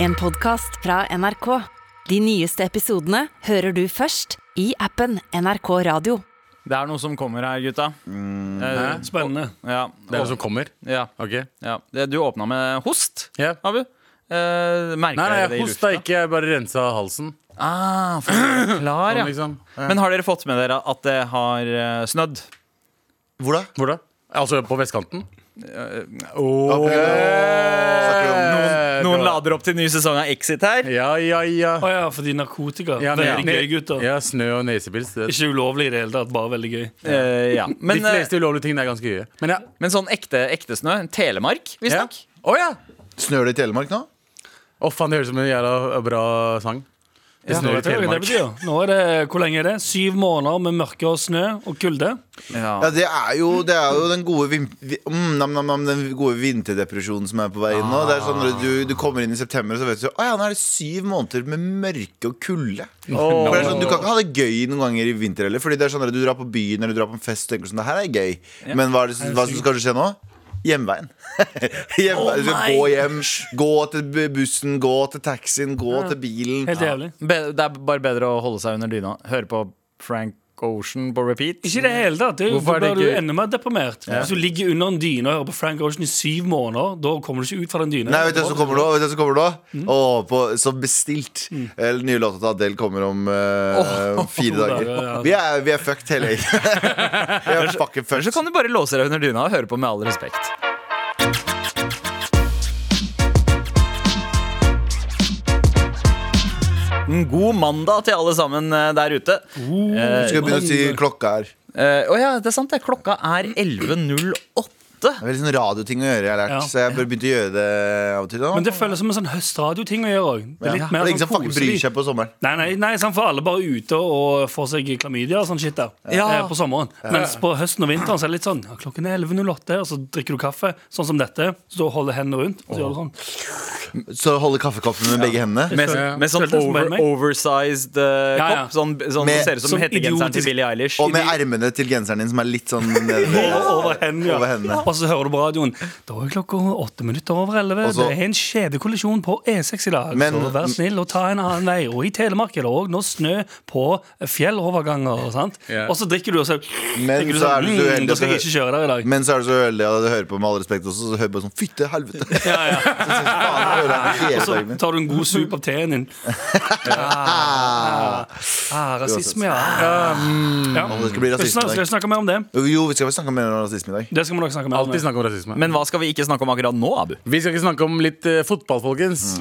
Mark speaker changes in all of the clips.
Speaker 1: En podcast fra NRK. De nyeste episodene hører du først i appen NRK Radio.
Speaker 2: Det er noe som kommer her, gutta. Eh,
Speaker 3: Spennende.
Speaker 2: ja,
Speaker 4: Det er noe som kommer?
Speaker 2: ja,
Speaker 4: Ok
Speaker 2: ja. Det- Du åpna med host,
Speaker 4: Ja.
Speaker 2: Abu. Eh, merker
Speaker 4: Nei, nei,
Speaker 2: dere det i
Speaker 4: jeg hosta
Speaker 2: lufta?
Speaker 4: ikke, jeg bare rensa halsen.
Speaker 2: Ah, for dere er klar,
Speaker 4: Sånn,
Speaker 2: ja.
Speaker 4: liksom.
Speaker 2: Men har dere fått med dere at det har eh, snødd?
Speaker 5: Hvor da?
Speaker 4: Hvor da? Altså på vestkanten?
Speaker 5: Ok. Snakker om noen
Speaker 2: Noen lader opp til ny sesong av Exit her.
Speaker 4: Eh, Ja, ja, ja.
Speaker 3: Å ja, fordi narkotika.
Speaker 4: Ja,
Speaker 3: veldig
Speaker 4: ne-
Speaker 3: gøy, gutter.
Speaker 4: Ja, snø og nesepils. Det.
Speaker 3: Ikke ulovlig i det hele tatt, bare veldig gøy.
Speaker 2: Eh, ja.
Speaker 4: De
Speaker 2: men, eh,
Speaker 4: fleste ulovlige tingene er ganske gøye. Men ja.
Speaker 2: men sånn ekte, ekte snø? Telemark, visstnok.
Speaker 4: Ja. Å ja!
Speaker 5: Snør det i Telemark nå?
Speaker 4: Å faen, det høres ut som en jævla bra sang. Det
Speaker 3: Nå
Speaker 4: snør i
Speaker 3: vet jeg hva det
Speaker 4: Telemark.
Speaker 3: betyr. Nå er det, hvor lenge er det? Syv måneder med mørke og snø og kulde.
Speaker 2: Ja.
Speaker 5: Ja, det er jo, det er jo den, gode vin, vi- mm, nam, nam, nam, den gode vinterdepresjonen som er på vei inn nå. Det er sånn når du, du kommer inn i september, og så vet du Å ja, nå er det syv måneder med mørke og kulde. For det er sånn, du kan ikke ha det gøy noen ganger i vinter heller. Fordi det er sånn at du drar på byen eller du drar på en fest og tenker sånn Det her er gøy. Men hva, er det, Oh hva som skal skje nå? Hjemveien. Hjemveien. Du skal gå hjem, gå til bussen, gå til taxien, gå til bilen.
Speaker 3: Helt jævlig.
Speaker 2: Be- Det er bare bedre å holde seg under dyna. Høre på Frank Ocean på repeat.
Speaker 3: Ikke i det hele tatt. Det er jo-
Speaker 2: Hvorfor er
Speaker 3: Da
Speaker 2: det
Speaker 3: blir du
Speaker 2: ikke-
Speaker 3: enda mer deprimert. Hvis du ligger under en dyne og hører på Frank Ocean i syv måneder, da kommer du ikke ut fra den dyna.
Speaker 5: Nei, vet du hva som kommer nå? Vet du hva som kommer nå?
Speaker 3: Mm.
Speaker 5: Åh, på, som bestilt. Eller nye låta til Adele kommer om eh, om fire dager.
Speaker 3: dager, ja.
Speaker 5: Vi, er, vi er fucked hele gjengen. vi er fucking
Speaker 2: Så
Speaker 5: fucked.
Speaker 2: kan du bare låse deg under dyna og høre på med all respekt. En god mandag til alle sammen eh, der ute.
Speaker 3: Oh,
Speaker 5: Skal vi begynne å si klokka her? Det
Speaker 2: Eh, Å ja, det er sant det. Klokka er 11.08.
Speaker 5: er veldig sånn radioting å gjøre, jeg har lært.
Speaker 3: Ja.
Speaker 5: Så jeg bør begynte å gjøre det av og til. nå.
Speaker 3: Men det føles som en sånn høstradioting å gjøre òg. Det er
Speaker 5: Ja.
Speaker 3: litt
Speaker 5: Det
Speaker 3: mer
Speaker 5: er ingen
Speaker 3: sånn
Speaker 5: som fucking bryr
Speaker 3: koselig.
Speaker 5: seg på sommeren.
Speaker 3: Nei, nei, nei sant, for alle bare er ute og får seg klamydia og sånn shit der
Speaker 2: Ja.
Speaker 3: eh, på sommeren. Mens på høsten og vinteren så er det litt sånn ja, klokken er 11.08, og så drikker du kaffe, sånn som dette. Så du holder hendene rundt. Og så gjør du sånn.
Speaker 5: Så holde kaffekoppen med begge hendene.
Speaker 2: Med,
Speaker 4: Ja.
Speaker 2: med sånn
Speaker 3: Føltes som
Speaker 2: over,
Speaker 3: bare meg.
Speaker 2: oversized eh,
Speaker 3: Ja, ja.
Speaker 2: kopp. Sånn, sånn
Speaker 5: Med-
Speaker 2: ser ut som
Speaker 3: Som
Speaker 2: hettegenseren til
Speaker 3: idiotisk-
Speaker 2: Billie Eilish.
Speaker 5: Og med ermene til genseren din som er litt sånn nede ved-
Speaker 3: Over, over hendene, ja.
Speaker 5: Over hendene.
Speaker 3: Og så hører du på radioen. Da er klokka åtte minutter over elleve.
Speaker 5: Og så-
Speaker 3: det er en kjedekollisjon på E6 i dag.
Speaker 5: Men-
Speaker 3: så vær snill og ta en annen vei. Og i Telemark er det òg nå snø på fjelloverganger. Sant?
Speaker 4: Ja.
Speaker 3: Og så drikker du, og så
Speaker 5: Men
Speaker 3: tenker du
Speaker 5: så er
Speaker 3: sånn
Speaker 5: du så
Speaker 3: mm,
Speaker 5: uheldig
Speaker 3: Da skal
Speaker 5: at
Speaker 3: jeg
Speaker 5: du-
Speaker 3: ikke kjøre der i dag.
Speaker 5: Men så er du så uheldig at du hører på med all respekt også, så hører du bare sånn fytte helvete. Så,
Speaker 3: Ja, ja.
Speaker 5: så, faen, jeg hører hele
Speaker 3: Og så
Speaker 5: dagen min.
Speaker 3: tar du en god sup av teen din. Ah, ah, rasisme, ja. Mm. ja.
Speaker 5: Åh, det skal bli
Speaker 3: Skal vi
Speaker 5: rasisme
Speaker 3: snakke,
Speaker 5: i dag.
Speaker 3: skal vi snakke mer om det?
Speaker 5: Jo, vi skal snakke mer om rasisme i dag.
Speaker 3: Det skal vi nok snakke mer om.
Speaker 4: Alltid snakk om rasisme.
Speaker 2: Men hva skal vi ikke snakke om akkurat nå, Abu?
Speaker 4: Vi skal ikke snakke om litt eh, fotball, folkens.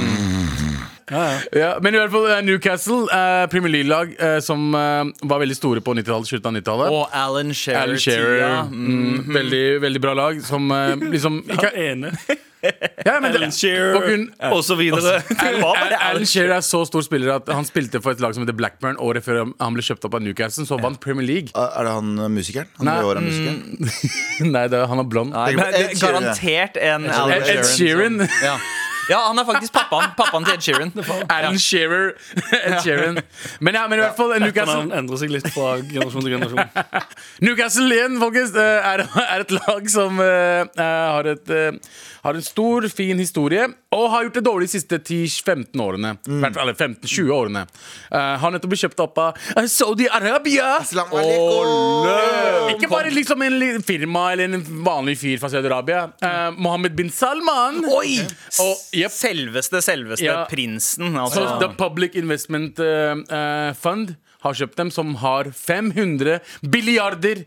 Speaker 4: Mm. Ja, men i hvert fall eh, Newcastle, eh, Premier League-lag eh, som eh, var veldig store på 90-tallet, slutten av 90-tallet.
Speaker 2: Og Alan Shearer.
Speaker 4: Alan Shearer.
Speaker 2: tida.
Speaker 4: Mm, veldig, veldig bra lag som eh, liksom ikke,
Speaker 3: Ene.
Speaker 4: ja, men det-
Speaker 3: Alan Shearer,
Speaker 4: og kun-
Speaker 3: og så videre.
Speaker 4: Al-
Speaker 2: Hva var
Speaker 4: Al-
Speaker 2: det
Speaker 4: Alan
Speaker 2: Alan
Speaker 4: Shearer er så stor spiller at han spilte for et lag som heter Blackburn året før han ble kjøpt opp av Newcastle, så vant Premier League.
Speaker 5: Er det han eh, musikeren? Han
Speaker 4: Nei,
Speaker 5: røde håret er
Speaker 3: mm,
Speaker 5: musikeren?
Speaker 4: Nei, det er, han er blond.
Speaker 2: Nei,
Speaker 5: Tenk
Speaker 2: men
Speaker 5: på
Speaker 2: det
Speaker 5: Ed
Speaker 2: er
Speaker 5: Sheeran,
Speaker 2: garantert en Alan
Speaker 4: Ed Sheeran. liksom.
Speaker 2: som- Ja. ja, han er faktisk pappaen, pappaen til Ed Sheeran.
Speaker 4: Alan Shearer. Ed Sheeran. Men, ja, men i hvert fall eh, Newcastle
Speaker 3: Etternavn endrer seg litt fra generasjon til generasjon.
Speaker 4: Newcastle igjen, folkens, eh, er, er et lag som eh, eh, har, et, eh, har en stor, fin historie, og har gjort det dårlig de siste 10-15 årene. Hvert fall, Eller 15-20 årene. Eh, har nettopp blitt kjøpt opp av eh, Saudi-Arabia!
Speaker 5: Aslam
Speaker 4: Ole!
Speaker 5: alaikum!
Speaker 4: Ikke bare liksom en li- firma eller en vanlig fyr fra Saudi-Arabia. Eh, Mohammed bin Salman!
Speaker 2: Oi!
Speaker 4: Og, jep.
Speaker 2: Selveste, selveste
Speaker 4: Ja.
Speaker 2: prinsen.
Speaker 4: Så
Speaker 2: Altså.
Speaker 4: The Public Investment eh, eh, Fund har kjøpt dem, som har 500 billiarder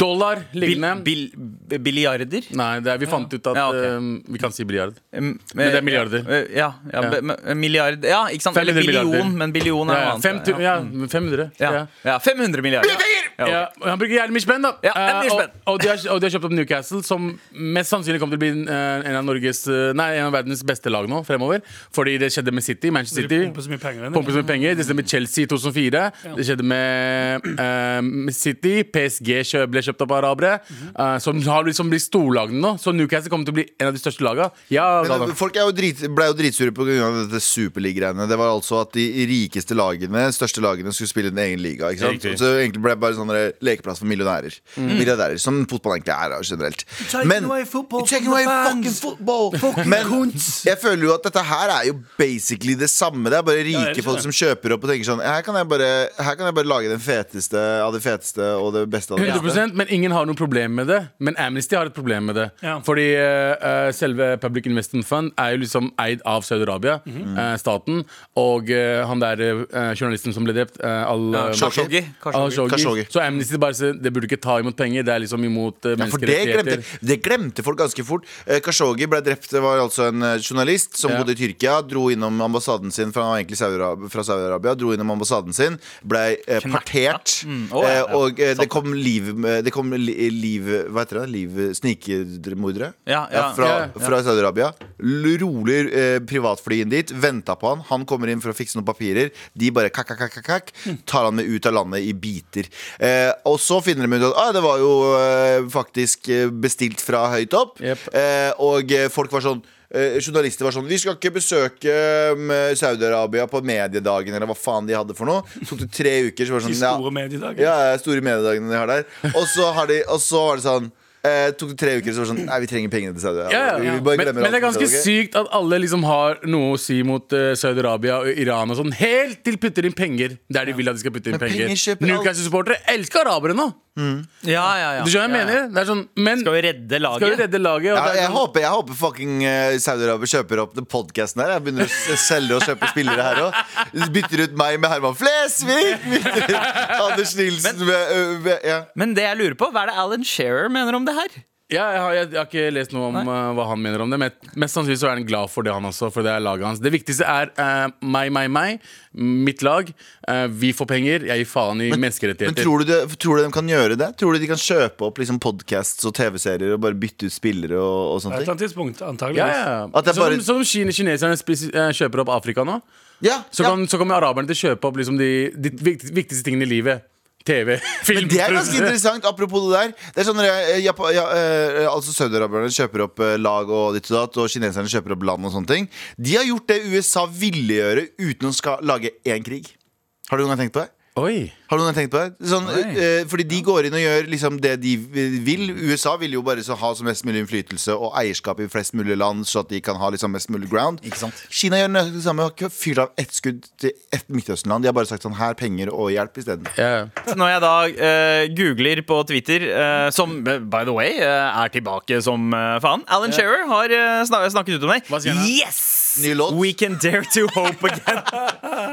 Speaker 4: dollar
Speaker 2: Bil,
Speaker 4: liggende.
Speaker 2: bil, billiarder?
Speaker 4: Nei, det er, vi fant ut at
Speaker 2: Ja, ok.
Speaker 4: eh, vi kan si biljard.
Speaker 2: Men
Speaker 4: det er milliarder.
Speaker 2: Eh, Ja, ja,
Speaker 4: Ja.
Speaker 2: be- me- milliard Ja, ikke sant? Eller
Speaker 4: 500
Speaker 2: billion,
Speaker 4: milliarder.
Speaker 2: men billion er
Speaker 4: Ja,
Speaker 2: noe
Speaker 4: fem
Speaker 2: annet.
Speaker 4: tu- ja, 500.
Speaker 2: Ja.
Speaker 4: Ja.
Speaker 2: Ja, 500 milliarder. Ja, ok.
Speaker 4: Ja, og han bruker jævlig mye spenn, da.
Speaker 2: Ja, det er mye
Speaker 4: Eh, og,
Speaker 2: spenn.
Speaker 4: og, de har, og de har kjøpt opp Newcastle, som mest sannsynlig kommer til å bli eh, en av, Norges, eh, nei, en av verdens beste lag nå fremover. Fordi det skjedde med City. Manchester
Speaker 3: De
Speaker 4: City
Speaker 3: pumper så mye penger inn i det.
Speaker 4: pumper så mye penger. Det skjedde med Chelsea i 2004. Det skjedde med eh, City. PSG kjø- ble kjøpt opp av arabere.
Speaker 2: Mhm.
Speaker 4: eh, som har liksom blitt storlagene nå. Så Newcastle kommer til å bli en av de største lagene. Ja,
Speaker 5: Men eh,
Speaker 4: Galvan.
Speaker 5: folk er jo drit, ble jo dritsure pga. dette Superleague-greiene. Det var altså at de rikeste lagene, største lagene, skulle spille i en egen liga. Ikke sant?
Speaker 6: Riktig.
Speaker 5: Så egentlig ble det bare sånn der lekeplass for millionærer.
Speaker 3: Mm.
Speaker 5: Milliardærer, Som fotball egentlig er da, generelt.
Speaker 3: taking away football
Speaker 5: You're taking
Speaker 3: from
Speaker 5: away
Speaker 3: the
Speaker 5: fucking
Speaker 3: fans.
Speaker 5: football. Men jeg føler jo at dette her er jo basically det samme. Det er bare
Speaker 3: det
Speaker 5: rike
Speaker 3: er det.
Speaker 5: folk som kjøper opp og tenker sånn Her kan jeg bare, her kan jeg bare lage den feteste av det feteste og det beste av det beste.
Speaker 4: 100%, men ingen har noe problem med det. Men Amnesty har et problem med det.
Speaker 3: Ja.
Speaker 4: Fordi eh, eh, selve Public Investment Fund er jo liksom eid av Saudi-Arabia, eh, staten. Og eh, han der eh, journalisten som ble drept, eh, Al
Speaker 6: Ja, Khashoggi.
Speaker 4: Al-Khashoggi.
Speaker 5: Khashoggi.
Speaker 4: Så Amnesty bare sier det burde ikke ta imot penger. Det er liksom imot eh,
Speaker 5: Ja, for det glemte,
Speaker 4: menneskerettigheter.
Speaker 5: det glemte folk ganske fort. Eh, Khashoggi ble drept. Det var altså en eh, journalist som
Speaker 4: Ja.
Speaker 5: bodde i Tyrkia. Dro innom ambassaden sin, for han var egentlig Saudi-Arab- fra Saudi-Arabia. Dro innom ambassaden sin, ble eh, partert.
Speaker 6: Mm, Å, ja, ja.
Speaker 5: eh, og eh, det kom liv... eh, Det kom li, liv hva heter det? Liv Snikmordere
Speaker 6: Ja, ja,
Speaker 5: fra,
Speaker 6: ja, ja.
Speaker 5: fra Saudi-Arabia. L- Rolig eh, privatfly inn dit. Venta på han. Han kommer inn for å fikse noen papirer. De bare kakk, kakk, kakk, kakk, kakk. Tar han med ut av landet i biter. Eh, og så finner de ut at ah, det var jo eh, faktisk eh, bestilt fra høyt opp.
Speaker 4: Jep.
Speaker 5: Eh, og eh, folk var sånn eh, Journalister var sånn Vi skal ikke besøke mm, Saudi-Arabia på mediedagen, eller hva faen de hadde for noe. Så tok det tre uker, så var det
Speaker 3: De
Speaker 5: sånn ja,
Speaker 3: store mediedager.
Speaker 5: ja, ja, store mediedagene de har der. Og så, har de, og så var det sånn eh, tok det tre uker, så var det sånn Nei, vi trenger pengene til Saudi.
Speaker 4: Ja, ja.
Speaker 5: Vi bare
Speaker 4: Men,
Speaker 5: glemmer
Speaker 4: men det er
Speaker 5: alt om
Speaker 4: ganske
Speaker 5: Saudi, ok?
Speaker 4: sykt at alle liksom har noe å si mot eh, Saudi-Arabia og Iran og sånn. Helt til putter inn penger der de vil at de skal putte inn
Speaker 5: Men
Speaker 4: penger.
Speaker 5: penger kjøper alt.
Speaker 4: Newcastle-supportere elsker arabere nå.
Speaker 6: Ja, ja, ja.
Speaker 4: Du
Speaker 6: Ja, ja.
Speaker 4: skjønner hva jeg mener? Det er sånn, men
Speaker 6: Skal vi redde laget?
Speaker 4: Skal vi redde laget? og
Speaker 5: Ja,
Speaker 4: det er
Speaker 5: jeg,
Speaker 4: sånn-
Speaker 5: håper, jeg håper fucking eh, Saudi-Arabia kjøper opp den podkasten her. Jeg begynner å s- selge og kjøpe spillere her òg. Bytter ut meg med Herman Flesvig! Bytter ut Anders Nilsen med, ø, med ja.
Speaker 6: Men det jeg lurer på, hva er det Alan Shearer mener om det her?
Speaker 4: Ja, jeg, har, jeg, jeg har ikke lest noe om eh, hva han mener om det, men mest sannsynlig så er han glad for det, han også. For det er laget hans. Det viktigste er eh, meg, meg, meg. Mitt lag. Eh, vi får penger. Jeg gir faen i
Speaker 5: Men
Speaker 4: menneskerettigheter.
Speaker 5: tror du, det, tror du de kan gjøre det? Tror du de kan kjøpe opp liksom podcasts og TV-serier og bare bytte ut spillere og, og
Speaker 3: På et
Speaker 5: sånne
Speaker 3: eller
Speaker 4: sånn-
Speaker 5: ting?
Speaker 3: annet tidspunkt, antageligvis.
Speaker 4: ja, ja.
Speaker 5: At det er bare-
Speaker 4: Sånn som kine, kineserne spis, eh, kjøper opp Afrika nå,
Speaker 5: Ja,
Speaker 4: så,
Speaker 5: ja.
Speaker 4: kan, så kommer araberne til å kjøpe opp liksom, de, de viktig- viktigste tingene i livet. TV, film.
Speaker 5: Det er ganske interessant, apropos det der. Det er sånn når jeg- Jap- ja, eh, altså Saudi-araberne kjøper opp eh, lag og ditt og datt, og kineserne kjøper opp land og sånne ting. De har gjort det USA ville gjøre uten å skal lage én krig. Har du noen gang tenkt på det?
Speaker 4: Oi.
Speaker 5: Har du noen gang tenkt på det? Sånn, eh, fordi de går inn og gjør liksom det de vil. USA vil jo bare så ha så mest mulig innflytelse og eierskap i flest mulig land, så at de kan ha liksom mest mulig ground.
Speaker 6: Ikke sant?
Speaker 5: Kina gjør nøyaktig det samme. Har ikke fyrt av ett skudd til ett Midtøsten-land. De har bare sagt sånn her, penger og hjelp isteden.
Speaker 4: Ja.
Speaker 2: Så Når jeg da eh, googler på Twitter, eh, som eh, by the way eh, er tilbake som eh, faen Alan Shearer har eh, snak snakket ut om deg.
Speaker 4: Hva sier han?
Speaker 2: Yes!
Speaker 5: Ny låt.
Speaker 2: We can dare to hope again.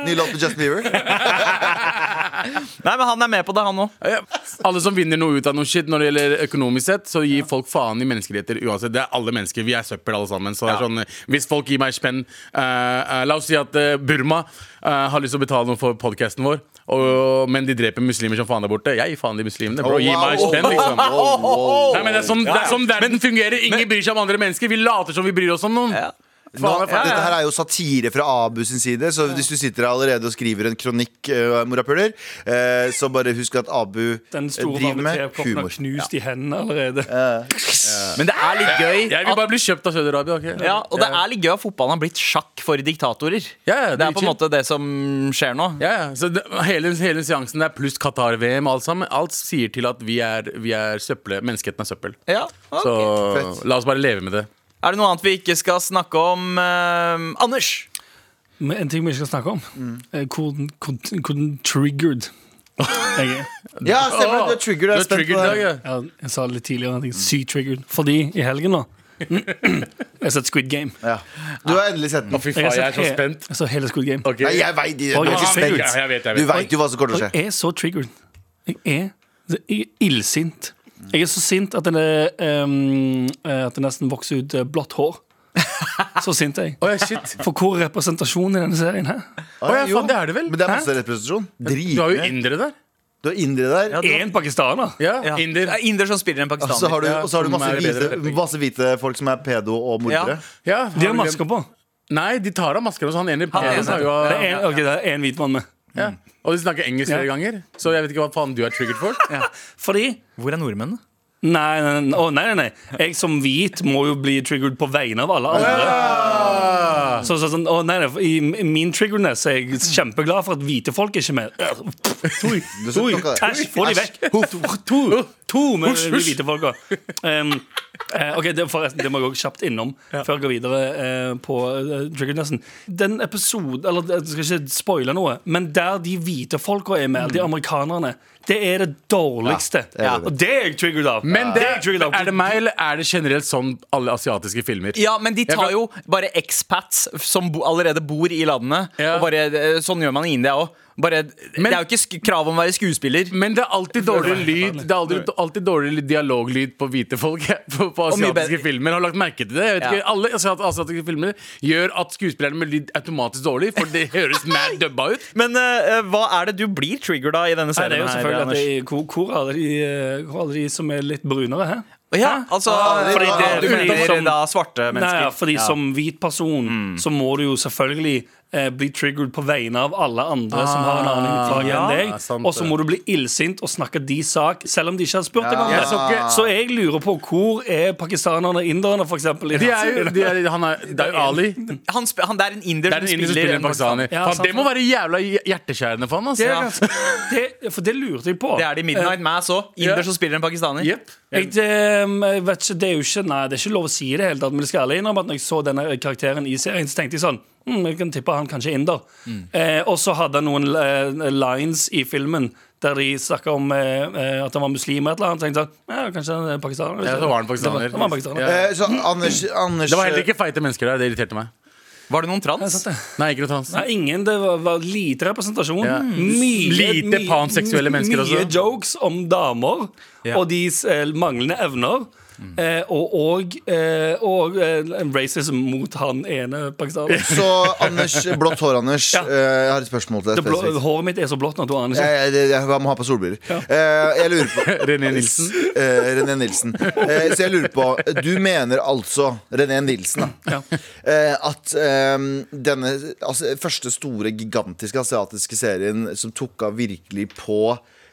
Speaker 5: Ny låt med Justin Bieber.
Speaker 2: Nei, men han er med på det, han òg.
Speaker 4: Ja. Alle som vinner noe ut av noe shit når det gjelder økonomisk sett, så gir folk faen i menneskerettigheter uansett. Det er alle mennesker. Vi er søppel alle sammen. Så det er sånn, eh, hvis folk gir meg spenn eh, eh, La oss si at eh, Burma eh, har lyst til å betale noe for podkasten vår, og, men de dreper muslimer som faen der borte. Jeg gir faen de muslimene. Bro, gi meg spenn, liksom.
Speaker 5: Wow, wow, wow.
Speaker 4: Nei, men det er sånn, det er sånn verden fungerer. Ingen bryr seg om andre mennesker. Vi later som vi bryr oss om noen.
Speaker 5: Nå,
Speaker 4: Faen, faen.
Speaker 5: Dette her er jo satire fra Abu sin side, så hvis du sitter her allerede og skriver en kronikk, uh, morapuler, eh, så bare husk at Abu
Speaker 3: Den
Speaker 5: eh,
Speaker 3: store
Speaker 5: driver med
Speaker 3: varmetekoppen har
Speaker 5: humor.
Speaker 3: knust i hendene allerede.
Speaker 2: Men det er litt gøy
Speaker 4: Jeg
Speaker 2: at
Speaker 4: vil bare bli kjøpt av Saudi-Arabia. ok?
Speaker 2: ja, og det er litt gøy at fotballen har blitt sjakk for diktatorer.
Speaker 4: Ja, ja,
Speaker 2: det er på en
Speaker 4: chill.
Speaker 2: måte det som skjer nå.
Speaker 4: Ja, ja. Så det, hele, hele seansen der, pluss Qatar-VM, alt sammen, alt sier til at vi er, vi er søppel. Menneskeheten er søppel.
Speaker 2: Ja, ok.
Speaker 4: Så
Speaker 5: Fett.
Speaker 4: la oss bare leve med det.
Speaker 2: Er det noe annet vi ikke skal snakke om? eh, Anders!
Speaker 3: Men en ting vi ikke skal snakke om, er hvor, hvor, hvor den triggered jeg er.
Speaker 5: Ja, stemmer det. Du er triggered. Jeg er
Speaker 4: Du er triggered
Speaker 5: spent på
Speaker 4: i
Speaker 5: det.
Speaker 4: dag, ja.
Speaker 3: Jeg, jeg sa litt tidligere at jeg er sykt-triggered. Fordi i helgen, da Jeg har sett Squid Game.
Speaker 5: Ja. Du har endelig sett den.
Speaker 4: Fy
Speaker 3: Jeg
Speaker 4: faen, jeg
Speaker 3: har sett
Speaker 4: er så
Speaker 3: he-
Speaker 4: spent.
Speaker 3: Jeg så hele Squid Game.
Speaker 4: Ok.
Speaker 5: Nei, jeg veit
Speaker 3: Oi,
Speaker 5: du er ikke
Speaker 3: jeg vet,
Speaker 5: spent.
Speaker 4: jeg vet, jeg
Speaker 5: Du
Speaker 4: vet.
Speaker 5: veit jo hva som kommer
Speaker 3: Og
Speaker 5: til å skje.
Speaker 3: jeg er så triggered. Jeg er, jeg er illsint. Jeg er så sint at, den er, ehm, eh, at det nesten vokser ut eh, blått hår. Så sint er jeg.
Speaker 4: Åja, shit.
Speaker 3: For hvor er representasjonen i denne serien her?
Speaker 4: Åja,
Speaker 5: Jo.
Speaker 4: faen, det er det vel?
Speaker 5: Men det er masse representasjon.
Speaker 4: Du har jo
Speaker 5: Dritmye.
Speaker 4: indere der.
Speaker 5: Du har indere der.
Speaker 3: Én pakistaner?
Speaker 4: Ja,
Speaker 2: Ja.
Speaker 4: Inder.
Speaker 2: Det er Inder Altså, som spiller en
Speaker 5: Og så
Speaker 2: pakistaner.
Speaker 5: har du, og så har du
Speaker 4: Ja, som
Speaker 5: masse,
Speaker 4: er bedre
Speaker 5: hvite,
Speaker 4: rapping.
Speaker 5: masse hvite folk som er pedo og mordere.
Speaker 2: Ja.
Speaker 4: Ja,
Speaker 3: De har
Speaker 4: du glemt-
Speaker 3: masker på.
Speaker 4: Nei, de tar av maskene, så han ene
Speaker 2: ene.
Speaker 4: penen har jo
Speaker 3: Det er en, ok, det er en hvit mann med.
Speaker 4: Ja. Og de snakker engelsk flere ganger, så jeg vet ikke hva faen du er triggered for.
Speaker 3: Ja. Fordi
Speaker 2: Hvor er nordmennene?
Speaker 3: Nei, nei, nei. Å, nei, nei, nei. Jeg som hvit må jo bli triggered på vegne av alle andre. Så, så, sånn, å, nei, nei, for I min triggerness er jeg kjempeglad for at hvite folk er ikke med. Tui,
Speaker 5: Du skal
Speaker 3: tui,
Speaker 5: ikke ha det.
Speaker 3: Æsj, få de vekk! To, to med de hvite folka. Um, eh, ok, det, forresten, det må jeg også kjapt innom før jeg går videre eh, på eh, triggernessen. Den episoden Eller jeg skal ikke spoile noe, men der de hvite folka er med, de amerikanerne, det er det dårligste.
Speaker 5: Mm. det er det.
Speaker 3: Og det er jeg triggered av.
Speaker 4: Men det,
Speaker 3: er jeg triggered av.
Speaker 4: er det meg, eller er det generelt sånn alle asiatiske filmer?
Speaker 2: Ja, men de
Speaker 4: kan-
Speaker 2: tar jo bare expats som bo, allerede bor i landene.
Speaker 4: Ja.
Speaker 2: Og bare, eh, Sånn gjør man i India òg. Det
Speaker 4: Men-
Speaker 2: er jo ikke sk krav om å være skuespiller.
Speaker 4: Men det er alltid dårlig lyd Det er alltid, alltid dårlig dialoglyd på hvite folk på, på
Speaker 2: mye
Speaker 4: asiatiske
Speaker 2: bedre.
Speaker 4: filmer. Har du lagt merke til det? Jeg vet
Speaker 2: Ja.
Speaker 4: ikke, Alle asiat- asiatiske filmer gjør at skuespillerne med lyd automatisk dårlig, for det høres mad dubba ut.
Speaker 2: Men eh, eh, hva er det du blir triggered av i denne
Speaker 3: Nei, det
Speaker 2: serien?
Speaker 3: er jo
Speaker 2: her,
Speaker 3: selvfølgelig at
Speaker 2: Anders?
Speaker 3: det, hvor, hvor, er de, eh, hvor er de som er litt brunere? Hæ?
Speaker 2: Ja, altså
Speaker 5: Ah,
Speaker 2: Fordi det,
Speaker 5: ah,
Speaker 2: du
Speaker 3: fordi
Speaker 2: blir
Speaker 3: som-
Speaker 2: da svarte
Speaker 3: Nei,
Speaker 2: mennesker.
Speaker 3: ja, fordi som hvit person så må du jo selvfølgelig eh, bli triggered på vegne av alle andre som har en annen hudfarge
Speaker 2: ja,
Speaker 3: enn
Speaker 4: ja,
Speaker 3: deg.
Speaker 4: sant
Speaker 3: Og så må du bli illsint og snakke de sak, selv om de ikke har spurt deg om
Speaker 5: Ja.
Speaker 3: det. Så,
Speaker 5: Jeg
Speaker 3: jeg lurer på hvor er pakistanerne og inderne, for eksempel? i
Speaker 4: De
Speaker 3: den
Speaker 4: er jo,
Speaker 3: serien?
Speaker 4: de er, han er, det er jo Ali.
Speaker 2: han, sp- han, det er en indier
Speaker 4: Det er den
Speaker 2: som
Speaker 4: spiller,
Speaker 2: spiller
Speaker 4: spiller
Speaker 2: en
Speaker 4: en pakistaner.
Speaker 3: Ja,
Speaker 4: Faen,
Speaker 3: sant.
Speaker 4: det må være jævla hjerteskjærende for han. Altså.
Speaker 3: Det er ganske- det, for det lurte jeg på.
Speaker 2: Det er det i Midnight Mass òg. Inder
Speaker 4: Ja.
Speaker 2: som spiller en pakistaner.
Speaker 4: Jep.
Speaker 3: Jeg, det, jeg vet ikke, det er jo ikke Nei, det er ikke lov å si i det hele tatt, men jeg skal ærlig innrømme at når jeg så denne eh, karakteren i serien, så tenkte jeg sånn hm, Jeg kan tippe han kanskje er inder.
Speaker 4: Mm.
Speaker 3: Eh, og så hadde han noen eh, lines i filmen der de snakka om eh, eh, at han var muslim eller et eller annet. Så tenkte jeg sånn, ja, kanskje han er pakistaner.
Speaker 4: Ja, så var han pakistaner.
Speaker 3: Det var, det var han pakistaner.
Speaker 4: Ja.
Speaker 5: Eh, Så Anders, Anders
Speaker 4: Det var heller ikke feite mennesker der. Det irriterte meg.
Speaker 2: Var det noen trans?
Speaker 3: Sant det?
Speaker 4: Nei, ikke noe trans.
Speaker 3: Nei, ingen. Det var, var lite representasjon.
Speaker 4: Ja.
Speaker 3: Mye,
Speaker 4: Lite
Speaker 3: mye-
Speaker 4: panseksuelle mennesker også.
Speaker 3: Mye jokes om damer og deres eh, manglende evner. Eh, og og, eh, og eh, racism mot han ene pakistaneren.
Speaker 5: eh, Så Anders, blått hår, Anders. eh, Jeg har et spørsmål til
Speaker 3: Det
Speaker 5: deg.
Speaker 3: blå,
Speaker 5: spesifikt.
Speaker 3: håret mitt er så blått nå at du aner ikke.
Speaker 5: Jeg, jeg, jeg, jeg må ha på solbriller. Eh, jeg lurer på
Speaker 4: René Nilsen.
Speaker 5: Eh, René Nilsen. Eh, så jeg lurer på Du mener altså, René Nilsen, da,
Speaker 3: Ja.
Speaker 5: eh, at eh, denne altså, første store, gigantiske asiatiske serien som tok av virkelig på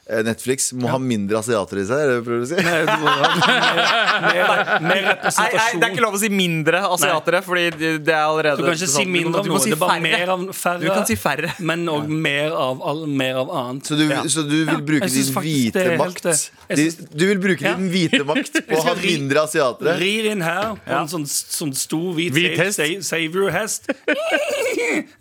Speaker 5: eh, Netflix, må ha mindre asiater i seg? Er det det du prøver å si?
Speaker 3: Mer, Eh, mer, mer
Speaker 2: Nei, nei, det er ikke
Speaker 3: representasjon.
Speaker 2: lov å si mindre asiatere, Fordi det- det er allerede
Speaker 3: Du kan ikke si
Speaker 2: sånn-
Speaker 3: mindre av
Speaker 2: Du må
Speaker 3: noe.
Speaker 2: si
Speaker 3: det er bare
Speaker 2: færre.
Speaker 3: mer av
Speaker 2: Du kan si
Speaker 3: færre,
Speaker 2: færre.
Speaker 3: men òg mer, av all- mer av annet.
Speaker 5: Så du, så du vil bruke
Speaker 3: jeg synes
Speaker 5: din
Speaker 3: faktisk det
Speaker 5: hvite
Speaker 3: er helt
Speaker 5: makt
Speaker 3: det. Jeg
Speaker 5: Di-
Speaker 3: synes-
Speaker 5: Du vil bruke
Speaker 3: Ja.
Speaker 5: din hvite makt på å
Speaker 3: skal
Speaker 5: ha
Speaker 3: ri-
Speaker 5: mindre asiatere?
Speaker 3: Rir inn her på en sånn, sånn stor hvit,
Speaker 4: Hvit hest.
Speaker 3: sa- sa- savior-hest.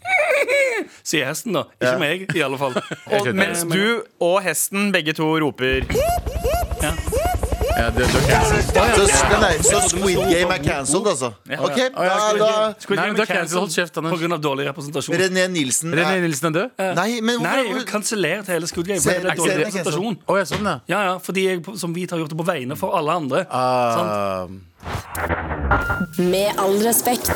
Speaker 3: Sier hesten, da. Ikke meg, i alle fall.
Speaker 2: Og
Speaker 4: skjønner.
Speaker 2: mens du og hesten begge to roper
Speaker 4: Ja, det, det, det.
Speaker 5: Så, nei, så Squid Game er cancelled, altså? Ok, da, da
Speaker 3: Squid
Speaker 4: Nei,
Speaker 3: Game
Speaker 4: men da
Speaker 3: er cancelled
Speaker 4: cancel, hold kjeft, Anders.
Speaker 3: På grunn av dårlig representasjon.
Speaker 5: René Nilsen
Speaker 4: René
Speaker 5: er
Speaker 4: Nilsen er død?
Speaker 5: Nei, men
Speaker 3: Nei, jeg har
Speaker 5: hvorfor
Speaker 3: kansellert hele Squid Game.
Speaker 5: Ser-
Speaker 3: fordi Det er
Speaker 5: ser-
Speaker 3: dårlig
Speaker 5: ser-
Speaker 3: representasjon.
Speaker 4: Å, ja, sånn, ja.
Speaker 3: Ja, ja, fordi jeg på- som hvit har gjort det på vegne for alle andre. sant?
Speaker 4: Ah,
Speaker 7: Med all respekt.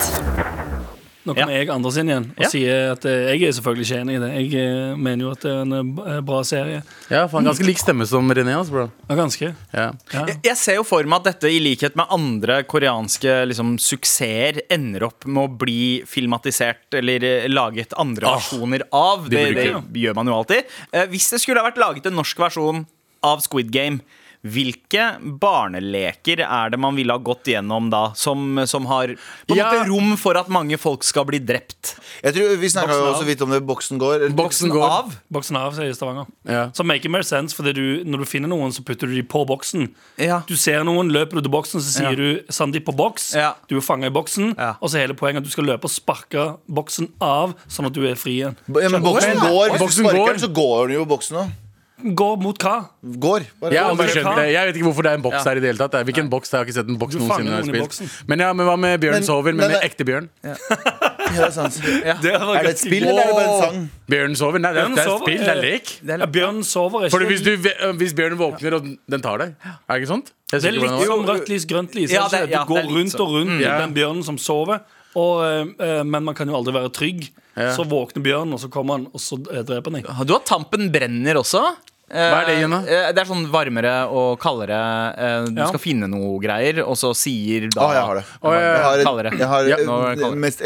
Speaker 3: Nå kommer jeg Anders inn igjen og
Speaker 2: Ja.
Speaker 3: sier at eh, jeg er selvfølgelig ikke enig i det. Jeg eh, mener jo at det er en eh, b- eh, bra serie.
Speaker 4: ja, faen, ganske lik stemme som René hans, bro.
Speaker 3: Ja, ganske.
Speaker 4: Ja.
Speaker 3: Ja.
Speaker 2: Jeg- Jeg ser jo for meg at dette, i likhet med andre koreanske liksom, suksesser, ender opp med å bli filmatisert eller eh, laget andre
Speaker 4: Ah,
Speaker 2: versjoner av. Det, det
Speaker 4: bruker
Speaker 2: gjør man jo alltid. Eh, Hvis det skulle ha vært laget en norsk versjon av Squid Game, hvilke barneleker er det man ville ha gått gjennom da, som, som har på en
Speaker 4: Ja.
Speaker 2: måte rom for at mange folk skal bli drept?
Speaker 5: Jeg tror Vi snakka
Speaker 3: Boksen
Speaker 5: jo
Speaker 3: av.
Speaker 5: så vidt om det. Boksen går. eller-
Speaker 4: Boksen går.
Speaker 2: Av?
Speaker 3: Boksen av, sier Stavanger.
Speaker 4: Ja.
Speaker 3: Så make it more sense, fordi du, når du finner noen, så putter du de på boksen.
Speaker 2: Ja.
Speaker 3: Du ser noen, løper du til boksen, så sier du 'Sandeep på boks'.
Speaker 2: Ja.
Speaker 3: Du er fanga i boksen,
Speaker 2: Ja.
Speaker 3: og så er hele poenget at du skal løpe og sparke boksen av, sånn at du er fri igjen.
Speaker 5: Ja, men boksen
Speaker 4: Oi,
Speaker 5: går. Hvis
Speaker 4: boksen
Speaker 5: du sparker
Speaker 4: går.
Speaker 5: den, så går den jo boksen òg.
Speaker 3: Gå mot hva?
Speaker 5: Går. Bare.
Speaker 4: Jeg har aldri
Speaker 3: Går.
Speaker 4: skjønt det. Jeg vet ikke hvorfor det er en boks her i det hele tatt. Det er- Hvilken boks? det er? Jeg har ikke sett en boks
Speaker 3: Du fanger
Speaker 4: noensinne. jeg har
Speaker 3: noen i
Speaker 4: spilt. Men ja, men hva med Bjørn
Speaker 5: Men-
Speaker 4: sover? Men
Speaker 5: men
Speaker 4: med
Speaker 5: det-
Speaker 4: ekte bjørn?
Speaker 5: Ja, det er sant.
Speaker 3: Det var
Speaker 5: Er det et spill, eller er det bare en sang?
Speaker 4: Bjørn sover? Nei, det er,
Speaker 3: Bjørn
Speaker 4: det er
Speaker 3: sover,
Speaker 4: spill, det er
Speaker 3: eh,
Speaker 4: lek.
Speaker 3: Ja, Bjørn sover ikke.
Speaker 4: Fordi hvis, du, ve- øh, hvis bjørnen våkner, og den- den tar deg, er det ikke sant? Jeg husker
Speaker 3: Det er
Speaker 4: ikke hvordan
Speaker 3: litt
Speaker 4: det var.
Speaker 3: som rødt lys, grønt lys.
Speaker 2: Ja,
Speaker 3: er det, ikke
Speaker 2: det-
Speaker 3: det?
Speaker 2: ja,
Speaker 3: du går
Speaker 2: det er litt sånn.
Speaker 3: rundt og rundt i
Speaker 4: Ja.
Speaker 3: den bjørnen som sover. Og, eh, eh, men man kan jo aldri være trygg. Så våkner bjørnen, og så kommer han, og så eh, dreper han deg.
Speaker 2: Du har Tampen brenner også. Hva
Speaker 4: er det igjen da?
Speaker 2: Det er sånn varmere og kaldere. eh, Du
Speaker 3: Ja.
Speaker 2: skal finne noe greier, og så sier da
Speaker 5: Å, Ah, jeg har det.
Speaker 2: Jeg har
Speaker 5: Jeg har,
Speaker 2: kaldere.
Speaker 5: jeg har
Speaker 2: Ja, nå er det
Speaker 5: det
Speaker 2: kaldere.
Speaker 5: mest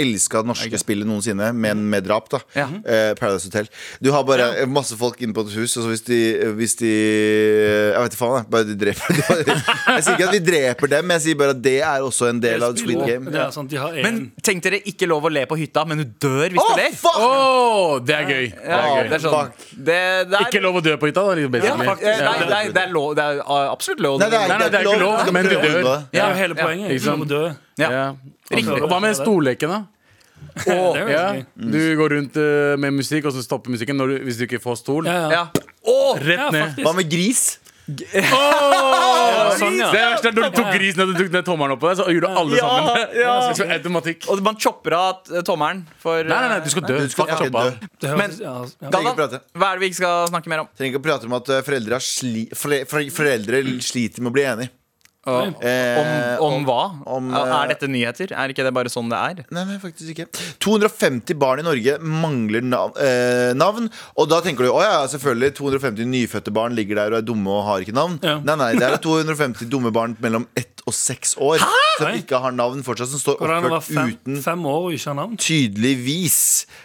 Speaker 5: elska norske spillet noensinne, men med drap, da.
Speaker 2: Ja.
Speaker 5: Eh, Paradise Hotel. Du har bare masse folk inne på et hus, og så hvis de, hvis de Jeg vet ikke faen, jeg. Bare de dreper Jeg sier ikke at de dreper dem, men jeg sier bare at det er også en del av Squid Game.
Speaker 3: Det er sant, de har en.
Speaker 2: Men tenk dere ikke lov å le på hytta, men du dør hvis
Speaker 5: Å,
Speaker 2: du ler.
Speaker 5: fuck!
Speaker 4: Åh, det er gøy.
Speaker 2: Ja,
Speaker 5: det er gøy.
Speaker 2: det er sånn det, det er,
Speaker 4: Ikke lov å dø på hytta, da. liksom,
Speaker 2: ja,
Speaker 4: basically.
Speaker 2: faktisk, nei, nei, det er lov. Det er ah, absolutt lov.
Speaker 5: Nei, det er,
Speaker 4: Nei, nei, det er ikke lov,
Speaker 5: Du skal
Speaker 4: men du
Speaker 5: prøve
Speaker 4: dør.
Speaker 5: å unngå det.
Speaker 3: det er jo
Speaker 2: Ja,
Speaker 3: hele
Speaker 2: ja,
Speaker 3: poenget.
Speaker 4: ikke
Speaker 3: Ikke
Speaker 4: sant?
Speaker 3: dø.
Speaker 2: Ja.
Speaker 4: Ja.
Speaker 2: Riktig.
Speaker 4: Hva med storleken, da?
Speaker 3: Det er jo
Speaker 4: Ja.
Speaker 3: ganske gøy.
Speaker 4: Du går rundt eh, med musikk, og så stopper musikken når du, hvis du ikke får stol.
Speaker 3: Ja, ja.
Speaker 2: Ja. Å,
Speaker 3: Ja,
Speaker 4: Rett ned.
Speaker 5: Hva
Speaker 3: faktisk.
Speaker 5: med gris?
Speaker 3: Ja, sånn,
Speaker 4: Det
Speaker 3: ja.
Speaker 4: verste er når du tok grisen og du tok ned tommelen opp på deg, så gjorde alle
Speaker 2: Ja,
Speaker 4: sammen det.
Speaker 2: ja.
Speaker 4: Så automatikk.
Speaker 2: og man chopper av eh, tommelen for
Speaker 4: Nei, nei, nei,
Speaker 2: eh,
Speaker 4: du skal dø.
Speaker 5: Du skal
Speaker 4: Fuck
Speaker 5: ikke
Speaker 4: choppa.
Speaker 5: dø.
Speaker 3: Det høres, ja, ja.
Speaker 5: Trenger
Speaker 2: Galvan,
Speaker 5: ikke prate.
Speaker 2: hva er det vi ikke skal snakke mer om?
Speaker 5: Trenger ikke å prate om at eh, foreldre, har sli, fore, fore, foreldre sliter med å bli enige.
Speaker 2: Om,
Speaker 5: Eh,
Speaker 2: om hva?
Speaker 5: om,
Speaker 2: Er-
Speaker 5: eh,
Speaker 2: er dette nyheter? Er ikke det bare sånn det er?
Speaker 5: Nei, nei, faktisk ikke. 250 barn i Norge mangler nav eh, navn. Og da tenker du å ja, selvfølgelig 250 nyfødte barn ligger der og er dumme og har ikke navn.
Speaker 3: Ja.
Speaker 5: Nei, nei, det er 250 dumme barn mellom ett og seks år som
Speaker 3: Nei.
Speaker 5: ikke har navn fortsatt, som står
Speaker 3: Går det an å være
Speaker 5: oppført
Speaker 3: fem,
Speaker 5: uten
Speaker 3: fem år og ikke ha navn?
Speaker 5: tydeligvis.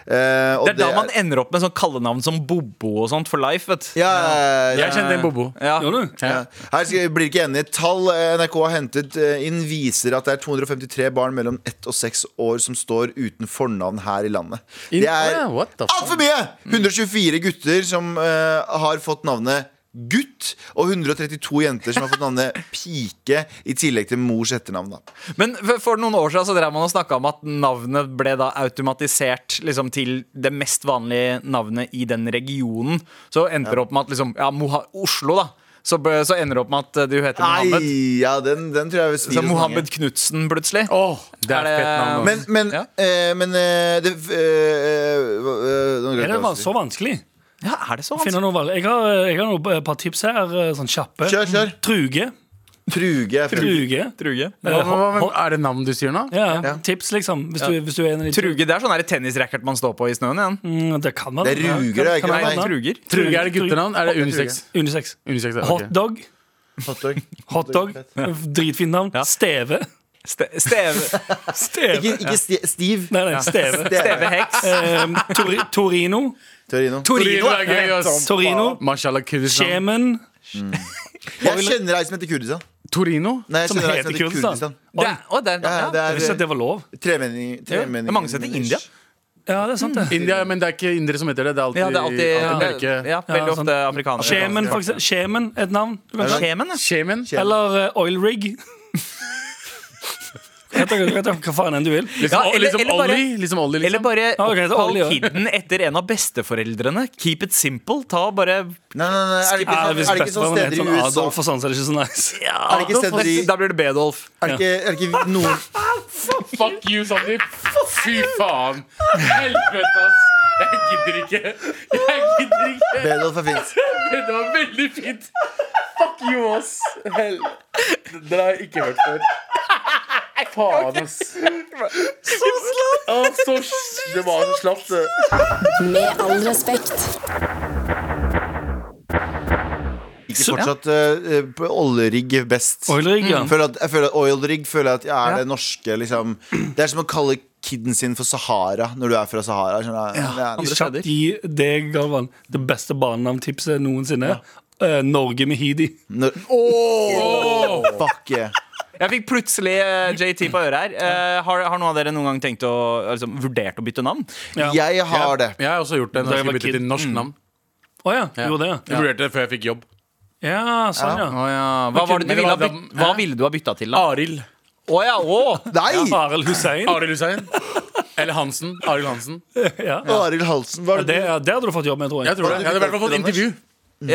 Speaker 5: Eh, og
Speaker 2: Det er da man ender opp med sånn kallenavn som Bobo og sånt for life. vet du.
Speaker 5: ja, ja, ja.
Speaker 4: Jeg kjente en bobo.
Speaker 2: Ja.
Speaker 3: Gjør du?
Speaker 5: Ja. Her skal- blir det ikke enige. Tall eh, NRK har hentet eh, inn, viser at det er 253 barn mellom 1 og 6 år som står uten fornavn her i landet. Det er
Speaker 4: Ja, what the fuck?
Speaker 5: altfor mye! 124 gutter som eh, har fått navnet gutt, og 132 jenter som har fått navnet pike, i tillegg til mors etternavn. Da.
Speaker 2: Men for- for noen år siden så drev man og snakka om at navnet ble da automatisert liksom, til det mest vanlige navnet i den regionen. Så endte det opp med at liksom, ja, Moha Oslo, da. Så, ble- så ender det opp med at eh, du heter Mohammed.
Speaker 5: Nei, ja, den, den tror jeg vil
Speaker 2: Så
Speaker 5: svir hos mange.
Speaker 2: Mohammed Knutsen, plutselig.
Speaker 4: Åh, det
Speaker 2: Er
Speaker 4: er
Speaker 2: det-
Speaker 4: fett navn.
Speaker 5: Men,
Speaker 4: ass.
Speaker 5: men,
Speaker 2: Ja.
Speaker 5: eh, men eh, det, eh, eh, hva- eh, nå glemte
Speaker 3: Er det
Speaker 5: jeg hva
Speaker 3: va-
Speaker 5: jeg
Speaker 3: så
Speaker 5: skulle si.
Speaker 3: vanskelig?
Speaker 2: Ja, er det så
Speaker 3: Finne
Speaker 2: vanskelig?
Speaker 3: noe valg. Jeg har, eh, jeg har noe, et par tips her, sånn kjappe.
Speaker 5: Kjør, kjør.
Speaker 3: Truge.
Speaker 5: Truge. er fremst.
Speaker 3: Truge.
Speaker 2: Truge.
Speaker 4: Hva- hva-
Speaker 3: Eh,
Speaker 4: hva- Er det navn du sier nå?
Speaker 3: Ja, Tips, liksom. Hvis, du, hvis du er en av de
Speaker 2: Truge, det er sånn der tennisracket man står på i snøen igjen.
Speaker 3: Mm, Det kan være
Speaker 5: Det er ruger, det er ikke
Speaker 3: Kan- kan
Speaker 5: noe
Speaker 2: Nei,
Speaker 3: være det.
Speaker 2: truger.
Speaker 4: Truge, er det guttenavn? Er det unisex?
Speaker 3: Unisex.
Speaker 4: Unisex, ja, ok.
Speaker 3: Hotdog.
Speaker 5: Hotdog.
Speaker 3: Hotdog. Dritfint navn. Steve.
Speaker 2: Ste steve,
Speaker 5: Ikke,
Speaker 3: Steve.
Speaker 5: ikke sti, Stiv.
Speaker 3: Nei, nei, Steve.
Speaker 2: steve heks.
Speaker 3: Em, Tori, Torino.
Speaker 5: Torino.
Speaker 4: Torino er gøy, ass.
Speaker 3: Torino.
Speaker 4: Mashallah Kurdistan.
Speaker 3: Kjemen.
Speaker 5: Jeg kjenner ei som heter Kurdistan.
Speaker 4: Torino?
Speaker 5: Nei, jeg
Speaker 3: Som
Speaker 5: kjenner ei
Speaker 3: heter
Speaker 5: som heter
Speaker 3: Kurdistan.
Speaker 5: sånn Kurdistan.
Speaker 2: Det er, å, det er,
Speaker 5: Ja,
Speaker 2: ja,
Speaker 5: det
Speaker 3: Jeg visste at
Speaker 5: er
Speaker 3: det var lov.
Speaker 5: tremenning. tremenning-
Speaker 2: det er mange som heter India.
Speaker 3: Ja, det er sant, det.
Speaker 4: India, men det er ikke indere som heter det. Det er alltid,
Speaker 2: ja, det er alltid
Speaker 4: alltid
Speaker 2: ja,
Speaker 4: mørke.
Speaker 2: ja, Veldig
Speaker 3: Ja,
Speaker 2: ofte
Speaker 3: sånn.
Speaker 2: afrikanere.
Speaker 3: Kjemen, for eksempel. Kjemen, et navn. Du kan ta.
Speaker 2: Skjemen, ja.
Speaker 4: Shaman?
Speaker 5: Kjemen.
Speaker 3: Eller eh, Oil Rig. Vet dere- vet dere Hva faen enn du vil.
Speaker 4: Liksom,
Speaker 2: Ja, eller-
Speaker 4: liksom
Speaker 2: eller bare-
Speaker 4: Ollie? Liksom Ollie
Speaker 2: Eller
Speaker 4: liksom.
Speaker 2: bare
Speaker 3: Ja, ok, det er
Speaker 2: oppkall
Speaker 3: olje, ja.
Speaker 2: kiden etter en av besteforeldrene. Keep it simple. Ta bare
Speaker 5: Nei, nei, nei, er det ikke,
Speaker 3: Ja,
Speaker 5: sånn,
Speaker 3: hvis
Speaker 5: er det ikke sånn
Speaker 3: bestefaren
Speaker 5: steder
Speaker 3: heter
Speaker 5: i
Speaker 3: sånn
Speaker 5: USA
Speaker 3: Adolf og sånn, så er det ikke så nice.
Speaker 5: Er det ikke steder i
Speaker 2: Da blir det Bedolf.
Speaker 5: Er det ikke, er det ikke noen
Speaker 4: Fuck you, Sandeep! Fy faen! Helvete, ass! Jeg gidder ikke. Jeg gidder ikke.
Speaker 5: Bedolf er fint.
Speaker 4: Det var veldig fint. Fuck you, ass. Hel... Den har jeg ikke hørt før. Faen, ass. Så slapt. det var så slapt, det.
Speaker 7: Med all respekt.
Speaker 5: Ikke fortsatt eh, eh, oljerigg best. Mm.
Speaker 3: Oil Rig, ja.
Speaker 5: Føler at, jeg føler at oilrig føler jeg at jeg er det norske liksom. Det er som å kalle kiden sin for Sahara når du er fra Sahara. skjønner du? Det er-
Speaker 3: Kjapt gi deg, Galvan, det beste barnenavntipset noensinne. Eh, Norge med Heedy.
Speaker 5: Når, Åh! Fuck yeah.
Speaker 2: Jeg fikk plutselig eh, JT på øret her. Eh, har, har noen av dere noen gang tenkt å liksom, vurdert å bytte navn?
Speaker 3: Ja.
Speaker 5: Jeg har det.
Speaker 4: Jeg har også gjort det når
Speaker 3: Da
Speaker 4: jeg
Speaker 3: jeg var
Speaker 4: skulle bytte
Speaker 3: kid.
Speaker 4: til norsk navn.
Speaker 3: Å ja, du gjorde det?
Speaker 4: Mm. Jeg vurderte det før jeg fikk jobb.
Speaker 3: Ja, ja sånn, ja.
Speaker 2: Å ja. Hva, var det du
Speaker 4: Men
Speaker 2: ville,
Speaker 4: det
Speaker 2: ha
Speaker 4: var-
Speaker 2: bytt, hva ville du ha bytta til, da?
Speaker 4: Arild.
Speaker 2: Å ja, å!
Speaker 5: Nei!
Speaker 3: Arild Hussein.
Speaker 4: Arild Hussein. Eller Hansen. Arild Hansen.
Speaker 3: Ja.
Speaker 5: Arild Halsen, hva er
Speaker 3: Det,
Speaker 5: det?
Speaker 3: ja, det hadde du fått jobb med, tror jeg.
Speaker 4: Jeg tror det. Jeg hadde i hvert fall fått intervju.
Speaker 2: Ja,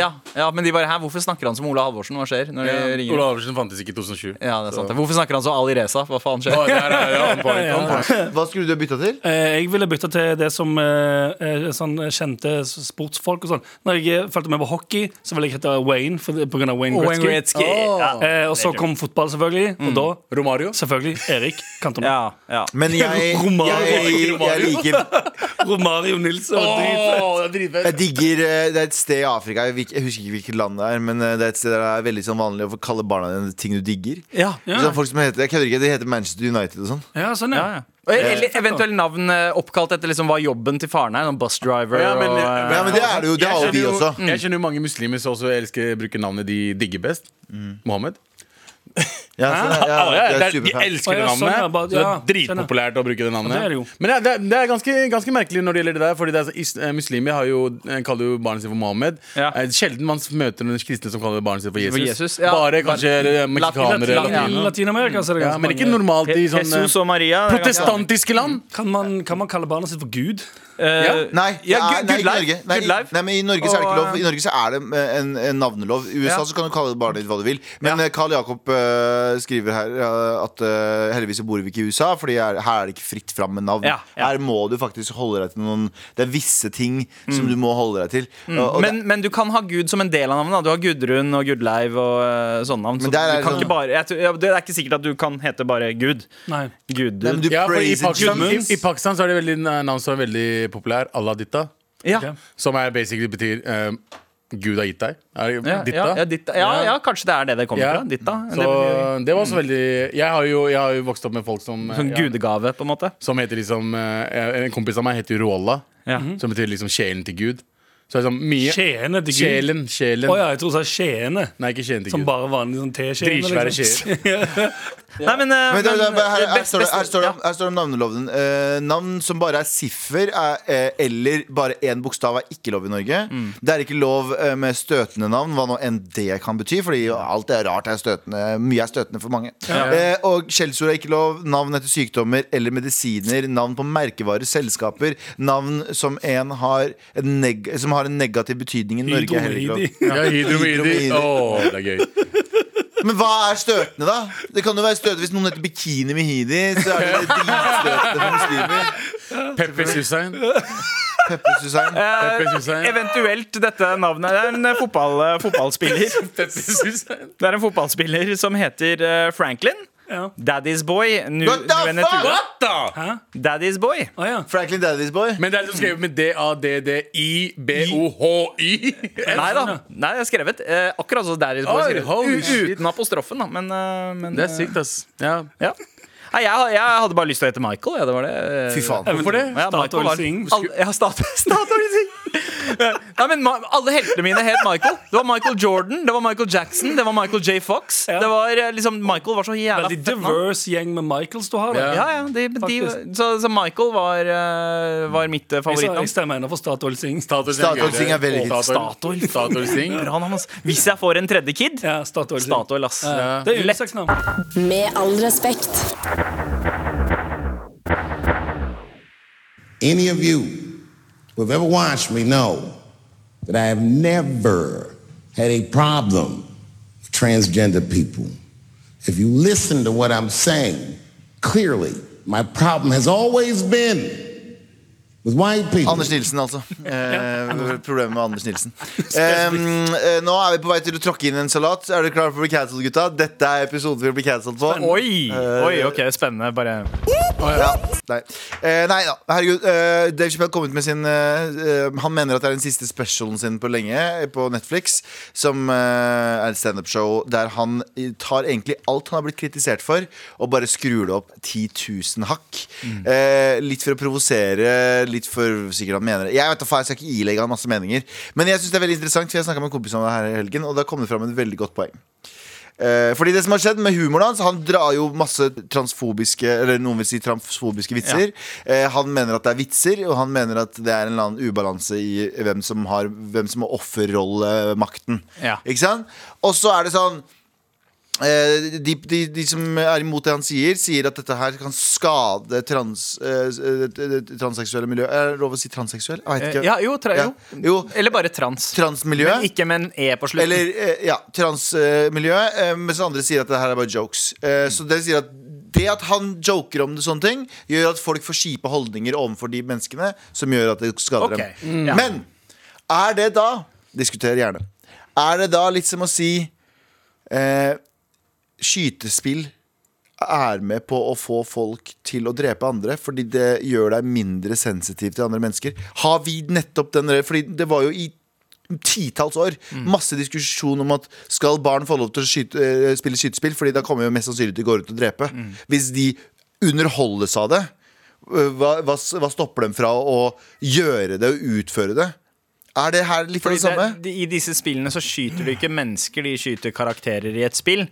Speaker 2: Mm. ja, men de bare Hæ, hvorfor snakker han som Ola Halvorsen? Hva skjer? Når de ringer
Speaker 4: Ola Halvorsen fantes ikke i 2007.
Speaker 2: Ja, det er sant. Hvorfor snakker han som Ali Reza? Hva faen skjer?
Speaker 4: Å, der er det on point, on point.
Speaker 5: Hva skulle du ha bytta til?
Speaker 3: Eh, Jeg ville bytta til det som eh, eh, sånn kjente sportsfolk og sånn. Når jeg eh, fulgte med på hockey, så ville jeg hete Wayne for, på grunn av Wayne
Speaker 2: Wayne
Speaker 3: Gretzky.
Speaker 2: Gretzky.
Speaker 3: Åh. Eh, og så kom fotball, selvfølgelig. Og da
Speaker 4: Romario?
Speaker 3: selvfølgelig Erik Cantona.
Speaker 2: Mm. Ja, ja.
Speaker 5: Men jeg,
Speaker 3: Romario.
Speaker 5: jeg, jeg liker
Speaker 3: Romario Nilsen.
Speaker 4: Å,
Speaker 3: og drit.
Speaker 4: det er dritfett.
Speaker 5: Jeg digger eh, Det er et sted i Afrika, jeg, vil ikke- jeg husker ikke hvilket land det er, men eh, det er et sted der det er veldig sånn vanlig å kalle barna dine ting du digger.
Speaker 2: Ja.
Speaker 5: Sånn folk som heter, jeg kødder ikke, det heter Manchester United og sånn.
Speaker 3: Ja, sånn, ja.
Speaker 2: Og Eller eventuelt navn eh, oppkalt etter liksom hva jobben til faren er. Noen bus driver
Speaker 4: Ja, men-
Speaker 2: og
Speaker 4: men-
Speaker 2: eh,
Speaker 5: Ja, men det er det jo. Det
Speaker 4: Jeg
Speaker 5: har jo
Speaker 4: kjenner
Speaker 5: vi
Speaker 4: jo-
Speaker 5: også.
Speaker 4: Jeg kjenner jo mange muslimer som også elsker å bruke navnet de digger best.
Speaker 5: Mm.
Speaker 4: Mohammed.
Speaker 5: Ja, sånn, ja,
Speaker 4: Ja, ja,
Speaker 5: jeg
Speaker 4: det er,
Speaker 5: er
Speaker 4: de
Speaker 5: superfan.
Speaker 4: elsker
Speaker 3: Å, ja,
Speaker 4: det
Speaker 3: sånn, ja,
Speaker 4: navnet.
Speaker 3: bare-
Speaker 4: Så det er
Speaker 3: ja, skjønner.
Speaker 4: dritpopulært å bruke det navnet.
Speaker 3: Ja, det er det jo.
Speaker 4: Men det er, det er, det er ganske, ganske merkelig når det gjelder det der. Fordi det er, så- is- eh, Muslimer har jo, eh, kaller jo barnet sitt for Mohammed.
Speaker 2: Ja.
Speaker 4: Eh, Sjelden man møter noen kristne som kaller barnet sitt for Jesus.
Speaker 2: For Jesus, ja.
Speaker 4: Bare kanskje eh, meksikanere.
Speaker 2: Latin-
Speaker 4: eller-
Speaker 3: I Latin-Amerika så er det
Speaker 4: Ja,
Speaker 3: ganske
Speaker 4: men ikke
Speaker 3: mange.
Speaker 4: normalt i
Speaker 2: He-
Speaker 4: sånn
Speaker 2: Jesus
Speaker 4: eh,
Speaker 2: og Maria. det er ganske-
Speaker 4: protestantiske land.
Speaker 3: Kan man, kan man kalle barnet sitt for Gud?
Speaker 2: Eh,
Speaker 5: Nei,
Speaker 2: ja,
Speaker 5: nei,
Speaker 2: Good-
Speaker 5: nei,
Speaker 2: Good
Speaker 5: ikke i
Speaker 2: Life.
Speaker 5: Norge. Nei,
Speaker 2: Good
Speaker 5: i-
Speaker 2: Life.
Speaker 5: nei, men I Norge så er det ikke
Speaker 2: Og,
Speaker 5: lov. I Norge så er det eh, en, en navnelov. I USA
Speaker 2: Ja.
Speaker 5: så kan du kalle barnet ditt hva du vil. Men eh, Carl Jakob eh, skriver her eh, at eh, heldigvis så bor vi ikke i USA, Fordi her, her er det ikke fritt fram med navn.
Speaker 2: Ja, ja.
Speaker 5: Her må du faktisk holde deg til noen Det er visse ting som du må holde deg til. Og- og det-
Speaker 2: Mm. men, men du kan ha Gud som en del av navnet. da. Du har Gudrun og Gudleiv og eh, sånne navn. Så
Speaker 5: Men der
Speaker 2: du
Speaker 5: er
Speaker 2: kan
Speaker 5: sånn-
Speaker 2: ikke bare, jeg, tror- ja, det er ikke sikkert at du kan hete bare Gud.
Speaker 3: Nei.
Speaker 2: Gud.
Speaker 5: Nei, men du
Speaker 4: Ja, for i
Speaker 5: praiser
Speaker 4: Pakistan, i,
Speaker 5: Jesus.
Speaker 4: I Pakistan så er det veldig navn som er veldig populær. Allah ditta.
Speaker 2: ja.
Speaker 3: Ok.
Speaker 4: Som er basically betyr eh, Gud har gitt deg. Er, det
Speaker 2: Ja,
Speaker 4: ditta.
Speaker 2: Ja, ja, ditta. Ja, ja, kanskje det er det det kommer
Speaker 4: Ja.
Speaker 2: fra. Ditta.
Speaker 4: Så
Speaker 2: det,
Speaker 4: det var også veldig Jeg har jo, jeg har jo vokst opp med folk som eh,
Speaker 2: sånn
Speaker 4: ja,
Speaker 2: gudegave, på en måte.
Speaker 4: Som heter liksom eh, En kompis av meg heter jo Rolla,
Speaker 2: Ja.
Speaker 4: som betyr liksom sjelen til Gud. Så det er sånn mye
Speaker 3: Skjeene til Gud.
Speaker 4: Sjelen. sjelen.
Speaker 3: Å ja, jeg tror du sa skjeene.
Speaker 4: Nei, ikke sjelen til
Speaker 3: Som
Speaker 4: Gud.
Speaker 3: bare vanlig sånn liksom. teskjeene.
Speaker 4: Dritsvære
Speaker 2: Nei, men, eh,
Speaker 5: Men det- det-
Speaker 2: men,
Speaker 5: her, her,
Speaker 2: eh, best-
Speaker 5: står det,
Speaker 2: best-
Speaker 5: her, står det,
Speaker 2: ja.
Speaker 5: om- her står det om navneloven. Eh, navn som bare er siffer, er, eh, eller bare én bokstav, er ikke lov i Norge.
Speaker 2: Mm.
Speaker 5: Det er ikke lov eh, med støtende navn, hva nå enn det kan bety. Fordi alt er rart er støtende. Mye er støtende for mange. Eh, og skjellsord er ikke lov. Navn etter sykdommer eller medisiner. Navn på merkevarer, selskaper. Navn som, en har, en neg som har en negativ betydning i Norge. er heller ikke lov.
Speaker 3: Hydromidi.
Speaker 4: Ja, hydromidi. Å, det er gøy.
Speaker 5: Men hva er støtende, da? Det kan jo være støtende Hvis noen heter bikini med hidi, så er det dritstøtende for muslimer.
Speaker 4: Peppers Hussein.
Speaker 3: Eh,
Speaker 5: Peppers Hussein.
Speaker 4: Peppers
Speaker 2: Eh,
Speaker 4: Hussein.
Speaker 2: Eventuelt dette navnet. Det er en eh, fotball, eh, fotballspiller.
Speaker 4: Peppers Hussein.
Speaker 2: Det er en fotballspiller som heter eh, Franklin.
Speaker 3: Ja.
Speaker 2: Daddy's Boy. Nu,
Speaker 5: What the
Speaker 2: Nuenetua.
Speaker 5: fuck?
Speaker 4: What the?
Speaker 2: Daddy's Boy.
Speaker 3: Å ja.
Speaker 5: Franklin Daddy's Boy.
Speaker 4: Men det er altså skrevet med D-A-D-D-I-B-O-H-Y.
Speaker 2: Nei da. Nei, jeg har skrevet eh, akkurat sånn Daddy's Boy.
Speaker 4: Oi,
Speaker 2: skrevet.
Speaker 4: holy
Speaker 2: U- uten apostrofen, da. Men, eh, men
Speaker 4: Det er
Speaker 2: eh,
Speaker 4: sykt, ass. Ja.
Speaker 2: Ja. Nei, jeg, jeg hadde bare lyst til å hete Michael. Ja, det var det.
Speaker 5: Fy faen.
Speaker 3: Hvorfor det?
Speaker 2: Ja, Michael
Speaker 3: Statoil
Speaker 2: var-
Speaker 3: Singh.
Speaker 2: Alle- Ja, Statoil Statoil Singh. Nei, men ma- alle heltene mine het Michael. Det var Michael Jordan, det var Michael Jackson, det var Michael J. Fox.
Speaker 3: Ja.
Speaker 2: Det var eh, liksom, Michael var så jævla
Speaker 3: Veldig
Speaker 2: fett navn.
Speaker 3: diverse gjeng med Michaels du har. da.
Speaker 2: Ja, ja, de, de,
Speaker 3: Faktisk.
Speaker 2: så, så Michael var, eh, var mitt eh,
Speaker 3: Jeg sa-
Speaker 2: favorittnavn.
Speaker 3: Jeg stemmer ennå for Statoil Singh.
Speaker 5: Statoil Singh er veldig hit.
Speaker 4: Statoil Statoil Singh.
Speaker 2: Bra navn, ass. Hvis jeg får en tredje kid
Speaker 3: Ja, Statoil Singh.
Speaker 2: Statoil, ass.
Speaker 3: Ja. Det er unisex-navn.
Speaker 7: Med all respekt.
Speaker 8: any of you who have ever watched me know that I have never had a problem with transgender people. If you listen to what I'm saying, clearly, my problem has always been with white people.
Speaker 5: Anders Nilsen, altså. Eh, problemet med Anders Nilsen. Em, eh, nå er vi på vei til å tråkke inn en salat. Er dere klare for å bli cancelled, gutta? Dette er episoden vi blir cancelled på.
Speaker 2: Oi,
Speaker 5: Eh,
Speaker 2: oi, ok, spennende. Bare
Speaker 5: Ja. Nei. Eh, nei da, herregud. eh, Dave Chappelle kom ut med sin eh, eh, Han mener at det er den siste specialen sin på lenge eh, på Netflix. Som eh, er et standup-show der han i- tar egentlig alt han har blitt kritisert for, og bare skrur det opp 10 000 hakk. Eh, litt for å provosere, litt for sikkert han mener det. Jeg vet da faen, jeg skal ikke ilegge han masse meninger. Men jeg synes det er veldig interessant, for jeg snakka med en kompis om det her i helgen, og da kom det fram et veldig godt poeng. Eh, fordi det som har skjedd med humoren hans Han drar jo masse transfobiske Eller noen vil si transfobiske vitser Eh, Han mener at det er vitser Og han mener at det er en eller annen ubalanse I hvem som har Hvem som må offerrolle makten
Speaker 2: Ja.
Speaker 5: Ikke sant? Og så er det sånn eh, de, de, de som er imot det han sier, sier at dette her kan skade trans, eh, eh, transseksuelle miljø. Er det lov å si transseksuell? Jeg vet ikke.
Speaker 2: Eh, Ja, jo, tra
Speaker 5: Ja.
Speaker 2: jo.
Speaker 5: Jo.
Speaker 2: Eller bare trans.
Speaker 5: Transmiljø.
Speaker 2: Men ikke med en E på slutten.
Speaker 5: Eller eh, ja, transmiljøet. eh, mens andre sier at det her er bare jokes. Eh, Så det sier at det at han joker om det sånne ting, gjør at folk får kjipe holdninger overfor de menneskene som gjør at det skader
Speaker 2: Ok, Mm.
Speaker 5: dem. Men er det da Diskuter gjerne. Er det da litt som å si eh, Skytespill er med på å få folk til å drepe andre fordi det gjør deg mindre sensitiv til andre mennesker. Har vi nettopp den der- Fordi det var jo i titalls år
Speaker 2: Mm.
Speaker 5: masse diskusjon om at skal barn få lov til å skyte, eh, spille skytespill, fordi da kommer jo mest sannsynlig til å gå rundt og drepe.
Speaker 2: Mm.
Speaker 5: Hvis de underholdes av det, eh, hva, hva, hva stopper dem fra å gjøre det og utføre det? Er det her litt av
Speaker 2: Fordi
Speaker 5: det samme?
Speaker 2: det, de- I disse spillene så skyter du ikke mennesker, de skyter karakterer i et spill.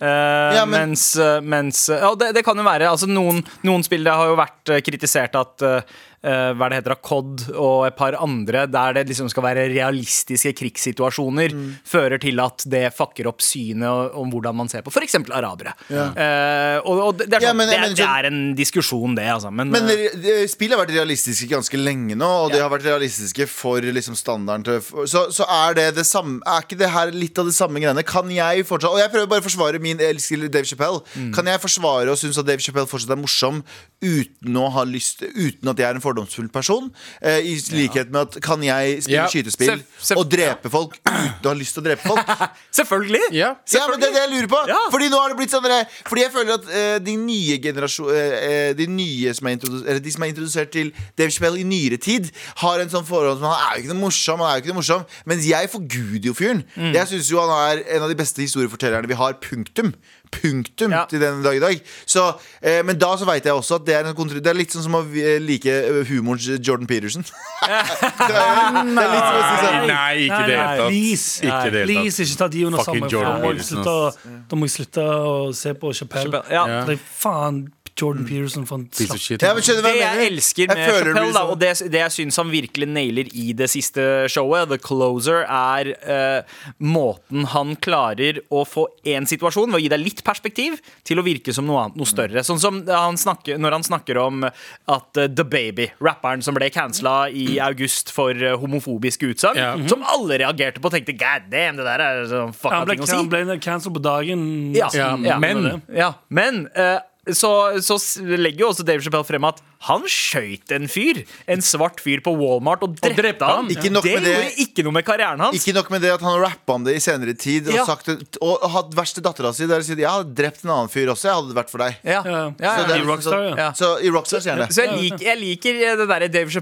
Speaker 2: Eh,
Speaker 5: men-
Speaker 2: Mens, eh, mens eh, Ja, det, det kan jo være. Altså, noen, noen spill det har jo vært eh, kritisert at eh, eh, hva er det heter, da, COD og et par andre, der det liksom skal være realistiske krigssituasjoner,
Speaker 5: Mm.
Speaker 2: fører til at det fucker opp synet og- om hvordan man ser på f.eks. arabere. Eh, og, og det, det, er
Speaker 5: Ja,
Speaker 2: sånn,
Speaker 5: men
Speaker 2: det,
Speaker 5: jeg
Speaker 2: er-
Speaker 5: mener
Speaker 2: det
Speaker 5: sånn-
Speaker 2: er en diskusjon, det, altså. Men,
Speaker 5: Men
Speaker 2: eh,
Speaker 5: re- de- spill har vært realistiske ganske lenge nå, og de har vært realistiske for liksom standarden til for- så, så er det det samme Er ikke det her litt av det samme greiene? Kan jeg fortsatt Og jeg prøver bare å forsvare min elskede Dave Chappelle. Kan jeg forsvare og synes at Dave Chappelle fortsatt er morsom uten å ha lyst Uten at jeg er en fordomsfull person? Eh, I likhet med at kan jeg
Speaker 4: Ja.
Speaker 5: spille skytespill
Speaker 2: Sef- sef-
Speaker 5: og drepe folk uten å ha lyst til å drepe folk?
Speaker 2: selvfølgelig!
Speaker 4: Ja.
Speaker 5: Ja, men det er det jeg lurer på.
Speaker 2: Ja.
Speaker 5: Fordi nå har det blitt sånn der- Fordi jeg føler at eh, de nye generasjon eh, eh, De nye som er introdusert Eller de som er introdusert til Dave Chappelle i nyere tid, har en sånn forhold som Han er jo ikke noe morsom, han er jo ikke noe morsom. Mens jeg forguder jo fyren.
Speaker 2: Mm.
Speaker 5: Jeg syns jo han er en av de beste historiefortellerne vi har. Punktum. Punktum
Speaker 2: Ja.
Speaker 5: til den dag i dag. Så, eh, men da så veit jeg også at det er, en kontr- det er litt sånn som å eh, like eh, humorens Jordan Peterson. det er, det er litt som å si sånn
Speaker 4: Nei, ikke
Speaker 3: Nei,
Speaker 4: det
Speaker 3: nei,
Speaker 4: hele tatt.
Speaker 3: Please,
Speaker 4: Ikke det hele
Speaker 3: please ikke ta de under
Speaker 4: Fucking
Speaker 3: samme
Speaker 4: Jordan
Speaker 3: faen. Må jeg
Speaker 4: Peterson,
Speaker 3: slutte å- Da må jeg slutte å se på Chappelle.
Speaker 2: Chappelle, ja.
Speaker 4: Ja. Mm.
Speaker 3: Det er Faen, Jordan Peterson for en
Speaker 4: Piece of
Speaker 3: slapp-
Speaker 4: shit.
Speaker 5: ja, men skjønner du hva
Speaker 2: Det
Speaker 5: jeg
Speaker 2: jeg
Speaker 5: mener?
Speaker 2: elsker
Speaker 5: Jeg
Speaker 2: med
Speaker 5: føler det
Speaker 2: Chappelle,
Speaker 5: blir
Speaker 2: da,
Speaker 5: sånn-
Speaker 2: og det, det jeg syns han virkelig nailer i det siste showet, The Closer, er eh, måten han klarer å få én situasjon, ved å gi deg litt perspektiv, til å virke som noe annet, noe større. Sånn som da han snakker, når han snakker om at eh, The Baby, rapperen som ble cancela i august for eh, homofobiske utsagn,
Speaker 4: Ja. Mhm.
Speaker 2: som alle reagerte på og tenkte god damn, det der er sånn fucka
Speaker 3: Han ble,
Speaker 2: ting å si.
Speaker 3: han ble cancelled på dagen.
Speaker 2: Ja,
Speaker 4: Ja,
Speaker 2: ja,
Speaker 4: men-
Speaker 2: men, ja, men eh, så, så s- legger jo også Dave Chappelle frem at han skjøt en fyr. En svart fyr på Walmart og drepte, han.
Speaker 5: Ikke nok
Speaker 2: det
Speaker 5: med det-
Speaker 2: gjorde ikke noe med karrieren hans.
Speaker 5: Ikke nok med det at han har rappa om det i senere tid og,
Speaker 2: Ja.
Speaker 5: sagt, det- og hatt verste dattera si der og sagt jeg hadde drept en annen fyr også, jeg hadde det vært for deg.
Speaker 2: Ja, ja,
Speaker 3: Ja,
Speaker 2: ja.
Speaker 5: Så det er
Speaker 3: I
Speaker 5: liksom
Speaker 3: Rockstar,
Speaker 5: sånn-
Speaker 2: ja.
Speaker 5: Så i Rockstar sier han det.
Speaker 2: Så jeg, lik, jeg liker eh, det der Dave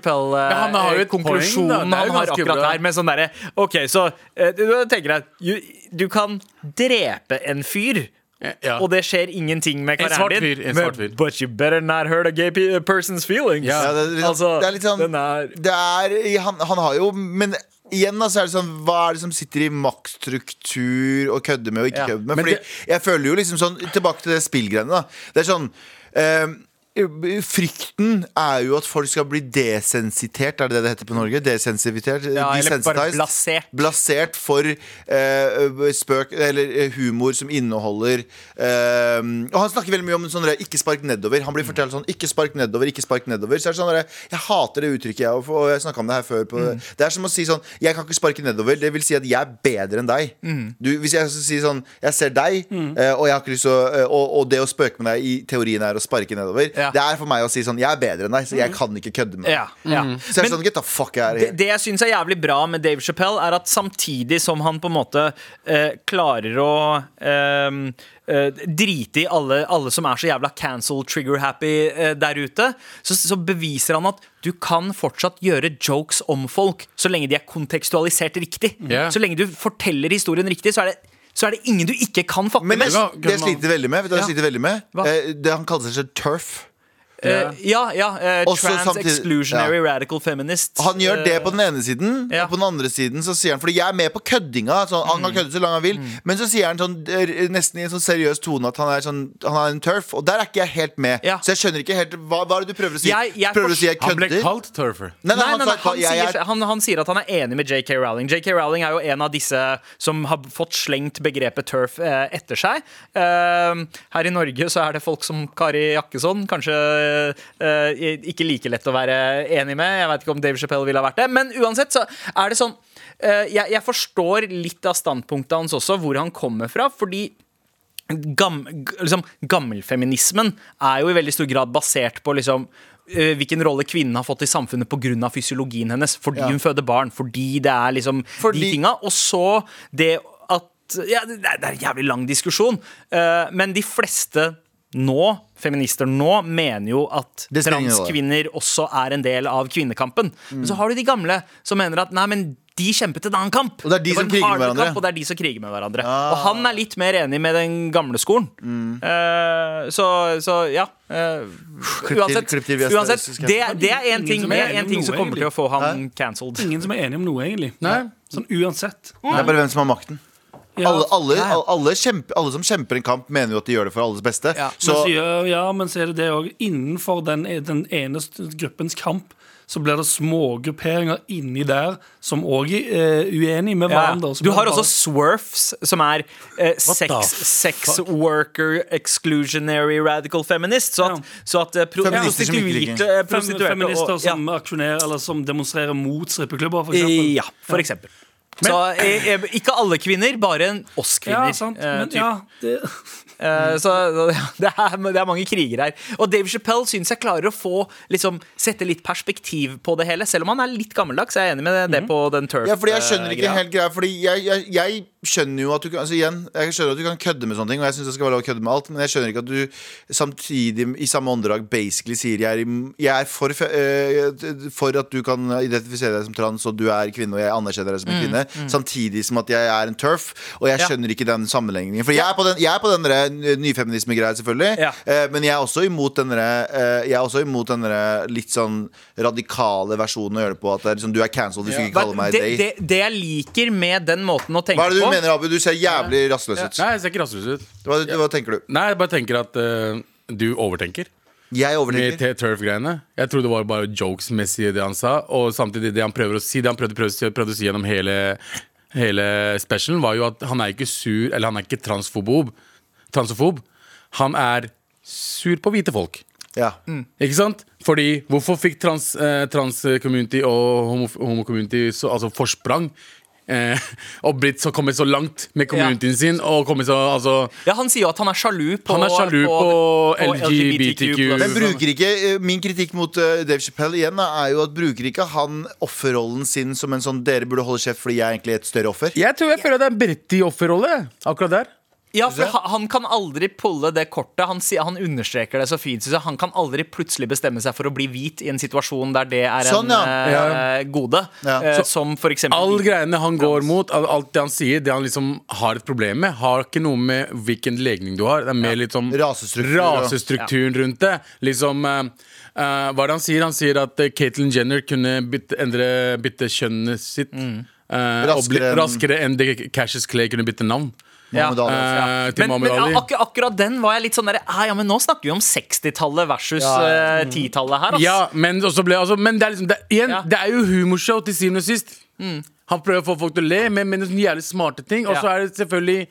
Speaker 4: Ja, han har jo et poeng, da.
Speaker 2: Chappelle-konklusjonen
Speaker 4: Det er
Speaker 2: han
Speaker 4: jo
Speaker 2: har
Speaker 4: ganske
Speaker 2: akkurat
Speaker 4: bra.
Speaker 2: her. Med sånn derre OK, så eh, du du tenker deg du, du kan drepe en fyr.
Speaker 4: Ja.
Speaker 2: Og det skjer ingenting med
Speaker 4: En svart
Speaker 2: karrieren din.
Speaker 4: fyr, en
Speaker 2: men-
Speaker 4: svart fyr.
Speaker 2: But you better not hurt a gay pe- person's feelings.
Speaker 4: Ja.
Speaker 5: Ja, det, er litt sånn-
Speaker 2: altså,
Speaker 5: det er litt sånn
Speaker 2: den er
Speaker 5: det er, han, han har jo Men igjen da, så er det sånn Hva er det som sitter i maktstruktur og kødder med og ikke
Speaker 2: Ja,
Speaker 5: kødder med?
Speaker 4: men
Speaker 5: Fordi
Speaker 4: det-
Speaker 5: jeg føler jo liksom sånn Tilbake til det spillgreiene, da. Det er sånn eh, Frykten er jo at folk skal bli desensitert, er det det det heter på Norge? Desensivitert?
Speaker 2: Ja, eller bare
Speaker 5: desensitized?
Speaker 2: blasert.
Speaker 5: blasert for eh, spøk Eller eh, humor som inneholder eh, Og han snakker veldig mye om sånn der, ikke spark nedover. Han blir fortalt sånn ikke spark nedover, ikke spark nedover. Så er det sånn der, Jeg hater det uttrykket, jeg, og for- og jeg snakket om det her før. På,
Speaker 2: Mm.
Speaker 5: Det er som å si sånn Jeg kan ikke sparke nedover. Det vil si at jeg er bedre enn deg.
Speaker 2: Mm.
Speaker 5: Du, hvis jeg skal si sånn Jeg ser deg, eh, og jeg har ikke lyst til å eh, og, og det å spøke med deg i teorien er å sparke nedover.
Speaker 2: Ja. Mm.
Speaker 5: Det er for meg å si sånn Jeg er bedre enn deg, så jeg kan ikke kødde med deg.
Speaker 2: ja, ja.
Speaker 5: Så jeg er
Speaker 2: Men-
Speaker 5: sånn, get the fuck out of
Speaker 2: det,
Speaker 5: here.
Speaker 2: det jeg syns er jævlig bra med Dave Chappelle, er at samtidig som han på en måte eh, klarer å eh, eh, drite i alle, alle som er så jævla cancel trigger-happy eh, der ute, så, så beviser han at du kan fortsatt gjøre jokes om folk så lenge de er kontekstualisert riktig.
Speaker 4: Ja.
Speaker 2: Så lenge du forteller historien riktig, så er det, så er det ingen du ikke kan fukke
Speaker 5: Men det,
Speaker 2: med.
Speaker 4: Gunnar-
Speaker 5: det jeg sliter veldig med, vet du hva jeg sliter veldig med?
Speaker 2: Hva?
Speaker 5: Eh, Det han kaller seg selv turf.
Speaker 2: Eh, ja, ja. eh,
Speaker 5: Også
Speaker 2: trans
Speaker 5: samtidig-
Speaker 2: exclusionary
Speaker 5: ja.
Speaker 2: radical eh, feminist.
Speaker 5: Han gjør det på den ene siden,
Speaker 2: ja.
Speaker 5: og på den andre siden så sier han Fordi jeg er med på køddinga. Sånn, han kan kødde så langt han vil, men så sier han sånn, eh, nesten i en sånn seriøs tone at han er, sånn, han er en turf, og der er ikke jeg helt med.
Speaker 2: Ja.
Speaker 5: Så jeg skjønner ikke helt Hva, hva er det du prøver å si?
Speaker 2: Jeg- jeg
Speaker 5: prøver du å si jeg
Speaker 4: Han ble
Speaker 5: kødder?
Speaker 4: kalt turfer.
Speaker 5: Nei, nei,
Speaker 2: Nei, nei,
Speaker 5: han,
Speaker 2: nei,
Speaker 5: sa,
Speaker 2: han,
Speaker 5: jeg,
Speaker 2: sier,
Speaker 5: er,
Speaker 2: han, han sier at han er enig med JK Rowling. JK Rowling er jo en av disse som har fått slengt begrepet turf eh, etter seg. Eh, her i Norge så er det folk som Kari Jakkesson kanskje eh, ikke like lett å være enig med. Jeg vet ikke om Dave Chappelle ville ha vært det. Men uansett så er det sånn eh, jeg, jeg forstår litt av standpunktet hans også, hvor han kommer fra. fordi gam, g- liksom, gammelfeminismen er jo i veldig stor grad basert på liksom eh, hvilken rolle kvinnen har fått i samfunnet pga. fysiologien hennes. Fordi hun føder barn. Fordi det er liksom de
Speaker 5: Fordi-
Speaker 2: tinga. Og så det at ja, det, er, det er en jævlig lang diskusjon. eh, men de fleste nå, feminister nå, mener jo at
Speaker 5: Det spiller ingen rolle.
Speaker 2: transkvinner også er en del av kvinnekampen. Men så har du de gamle som mener at nei, men de kjempet en annen kamp.
Speaker 5: Og det er de
Speaker 2: var
Speaker 5: som
Speaker 2: en
Speaker 5: kriger med
Speaker 2: hardere
Speaker 5: hverandre. Ah.
Speaker 2: Kamp, og det er de som kriger med hverandre. Og han er litt mer enig med den gamle skolen.
Speaker 5: Mm.
Speaker 2: Eh, så, så ja. eh,
Speaker 5: til-
Speaker 2: uansett,
Speaker 5: klipp til vi er
Speaker 2: uansett
Speaker 5: sterilistiske.
Speaker 2: det, er- det er én
Speaker 3: Ingen
Speaker 2: ting,
Speaker 3: som er
Speaker 2: det
Speaker 3: enig
Speaker 2: er en
Speaker 3: om
Speaker 2: ting
Speaker 3: noe,
Speaker 2: som kommer til å få han cancelled.
Speaker 3: Ingen som er enige om noe, egentlig.
Speaker 4: Nei.
Speaker 3: Sånn uansett.
Speaker 5: det er bare hvem som har makten.
Speaker 3: Ja.
Speaker 5: alle, alle, alle, kjempe, alle som kjemper en kamp, mener jo at de gjør det for alles beste.
Speaker 3: Så,
Speaker 5: Så,
Speaker 3: men så, gjør- ja, men så er det det òg. Innenfor den, e- den ene st- gruppens kamp så blir det smågrupperinger inni der som òg er eh, uenige
Speaker 2: Ja.
Speaker 3: med hverandre. Så
Speaker 2: Du
Speaker 3: blir
Speaker 2: har altså
Speaker 3: det
Speaker 2: også
Speaker 3: bare-
Speaker 2: swerfs, som er eh,
Speaker 4: the
Speaker 2: sex, sex worker exclusionary radical feminist. Så at,
Speaker 3: Ja.
Speaker 2: så at eh, pro
Speaker 5: Feminister som ikke liker.
Speaker 2: prostituerte, eh,
Speaker 3: Fem,
Speaker 2: prostituerte
Speaker 3: feminister
Speaker 2: og, ja.
Speaker 3: som aksjonerer Eller som demonstrerer mot strippeklubber, for eksempel.
Speaker 2: Ja, for eksempel. Så eh, eh, ikke alle kvinner, bare en oss kvinner.
Speaker 3: Ja, sant.
Speaker 2: eh,
Speaker 3: Men
Speaker 2: typ.
Speaker 3: ja, det
Speaker 2: Eh, Så det er, det er mange kriger her. Og Dave Chappelle syns jeg klarer å få liksom, sette litt perspektiv på det hele. Selv om han er litt gammeldags. Jeg er enig med det, det på den turf.
Speaker 5: Mhm. ja, fordi jeg skjønner
Speaker 2: eh,
Speaker 5: ikke
Speaker 2: greia.
Speaker 5: helt greia. Fordi jeg, jeg, jeg skjønner jo at du kan altså igjen, Jeg skjønner at du kan kødde med sånne ting, og jeg syns det skal være lov å kødde med alt, men jeg skjønner ikke at du samtidig i samme åndedrag basically sier jeg er, im- jeg er for, fe- eh, for at du kan identifisere deg som trans, og du er kvinne, og jeg anerkjenner deg som en kvinne, samtidig som at jeg er en turf, og jeg
Speaker 2: Mm, Ja.
Speaker 5: skjønner ikke den sammenligningen. For jeg er på den, jeg er på den derre nyfeminisme-greia, selvfølgelig,
Speaker 2: Ja.
Speaker 5: eh, men jeg er også imot den derre, eh, jeg er også imot den derre litt sånn radikale versjonen å gjøre det på, at det er liksom, du er cancelled hvis du ikke kaller meg
Speaker 2: det,
Speaker 5: they.
Speaker 2: det, det jeg liker med den måten å tenke
Speaker 5: Hva er det du
Speaker 2: på
Speaker 5: mener, Abu? Du ser jævlig rastløs ut.
Speaker 4: Nei, jeg ser ikke rastløs ut.
Speaker 5: Hva, hva tenker du?
Speaker 4: Nei, jeg bare tenker at eh, du overtenker.
Speaker 5: Jeg
Speaker 4: Med
Speaker 5: overtenker.
Speaker 4: T- turf-greiene. Jeg tror det var bare jokes-messig, det han sa. Og samtidig det han prøver å si, det han prøvde, prøvde, å si- prøvde å si gjennom hele, hele specialen, var jo at han er ikke sur Eller han er ikke transfobob. Transofob. Han er sur på hvite folk.
Speaker 5: Ja.
Speaker 4: Ikke sant? Fordi hvorfor fikk trans, eh, trans-community og homo- homo-community så- altså forsprang? Eh, og blitt så kommet så langt med communityen sin. Og kommet så, altså,
Speaker 2: Ja, Han sier jo at han er sjalu på
Speaker 4: han er sjalu på, LGBTQ.
Speaker 5: Men bruker ikke, eh, Min kritikk mot eh, Dave Chappelle igjen da, er jo at bruker ikke han offerrollen sin som en sånn 'dere burde holde kjeft fordi jeg er egentlig et større offer'?
Speaker 4: Jeg tror jeg føler at det er en Berti-offerrolle akkurat der.
Speaker 2: Ja, for han, han kan aldri pulle det kortet. Han, sier- han understreker det så fint. Synes jeg. Han kan aldri plutselig bestemme seg for å bli hvit i en situasjon der det er
Speaker 5: Sånn,
Speaker 2: en
Speaker 5: ja.
Speaker 2: eh,
Speaker 4: Ja.
Speaker 2: gode.
Speaker 5: Ja.
Speaker 2: Eh,
Speaker 4: Så
Speaker 2: som for eksempel
Speaker 4: All
Speaker 2: hvite.
Speaker 4: greiene han går mot, al- alt det han sier, det han liksom har et problem med, har ikke noe med hvilken legning du har. Det er mer litt sånn
Speaker 5: Rasestruktur, ja.
Speaker 4: rasestrukturen rundt det. Liksom eh, eh, Hva er det han sier? Han sier at eh, Caitlyn Jenner kunne bytte, endre, bytte kjønnet sitt. eh, og bli,
Speaker 5: Mm. Raskere enn-
Speaker 4: raskere enn det Cassius Clay kunne bytte navn.
Speaker 2: Ja.
Speaker 5: Muhammad Ali.
Speaker 4: Eh, til
Speaker 2: Men, men
Speaker 4: Muhammad Ali.
Speaker 2: ak akkurat den var jeg litt sånn der, «Ah, Ja, men nå snakker vi om 60-tallet versus eh, 10-tallet her, ass.
Speaker 4: Ja, men, også ble, altså, men det er liksom det, igjen,
Speaker 2: Ja. Mm.
Speaker 4: det er jo humorshow til syvende og sist. Han prøver å få folk til å le, men med noen jævlig smarte ting. Og så
Speaker 2: Ja.
Speaker 4: er det selvfølgelig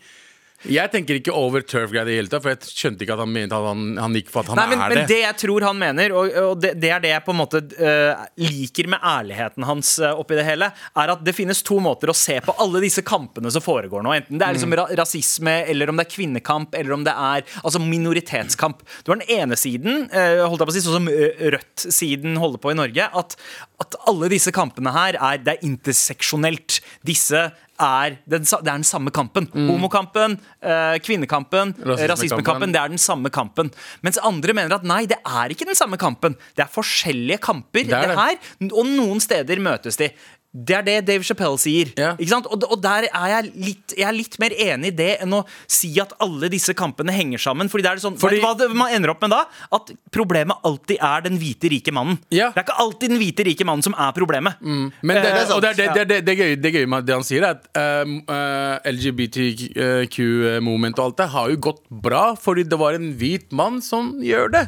Speaker 4: Jeg tenker ikke over turf-greia i det hele tatt, for jeg skjønte ikke at han mente at han, han gikk for at han
Speaker 2: Nei, men,
Speaker 4: er
Speaker 2: men
Speaker 4: det.
Speaker 2: det jeg tror han mener, og, og det, det er det jeg på en måte eh, liker med ærligheten hans eh, oppi det hele, er at det finnes to måter å se på alle disse kampene som foregår nå. Enten det er
Speaker 4: Mm.
Speaker 2: liksom ra rasisme, eller om det er kvinnekamp, eller om det er altså minoritetskamp. Du har den ene siden, eh, holdt jeg på å si, sånn som eh, Rødt-siden holder på i Norge, at, at alle disse kampene her er, det er interseksjonelt. Disse er den, sa- det er den samme kampen. Homokampen, eh, kvinnekampen, eh, rasismekampen.
Speaker 4: Mm. Rasismekampen.
Speaker 2: Det er den samme kampen. Mens andre mener at nei, det er ikke den samme kampen. Det er forskjellige kamper, det,
Speaker 4: er det.
Speaker 2: her. Og noen steder møtes de. Det er det Dave Chappelle sier.
Speaker 4: Ja.
Speaker 2: Ikke sant? Og, og der er jeg, litt, jeg er litt mer enig i det enn å si at alle disse kampene henger sammen. Fordi det er sånn,
Speaker 4: Fordi-
Speaker 2: vet du hva det, man ender opp med da? At problemet alltid er den hvite, rike mannen.
Speaker 4: Ja.
Speaker 2: Det er ikke alltid den hvite, rike mannen som er problemet.
Speaker 4: Men det,
Speaker 2: Eh,
Speaker 4: og det, er det, det, er det, det, er gøy, det er gøy med det han sier, er at eh, LGBTQ-moment og alt det har jo gått bra fordi det var en hvit mann som gjør det.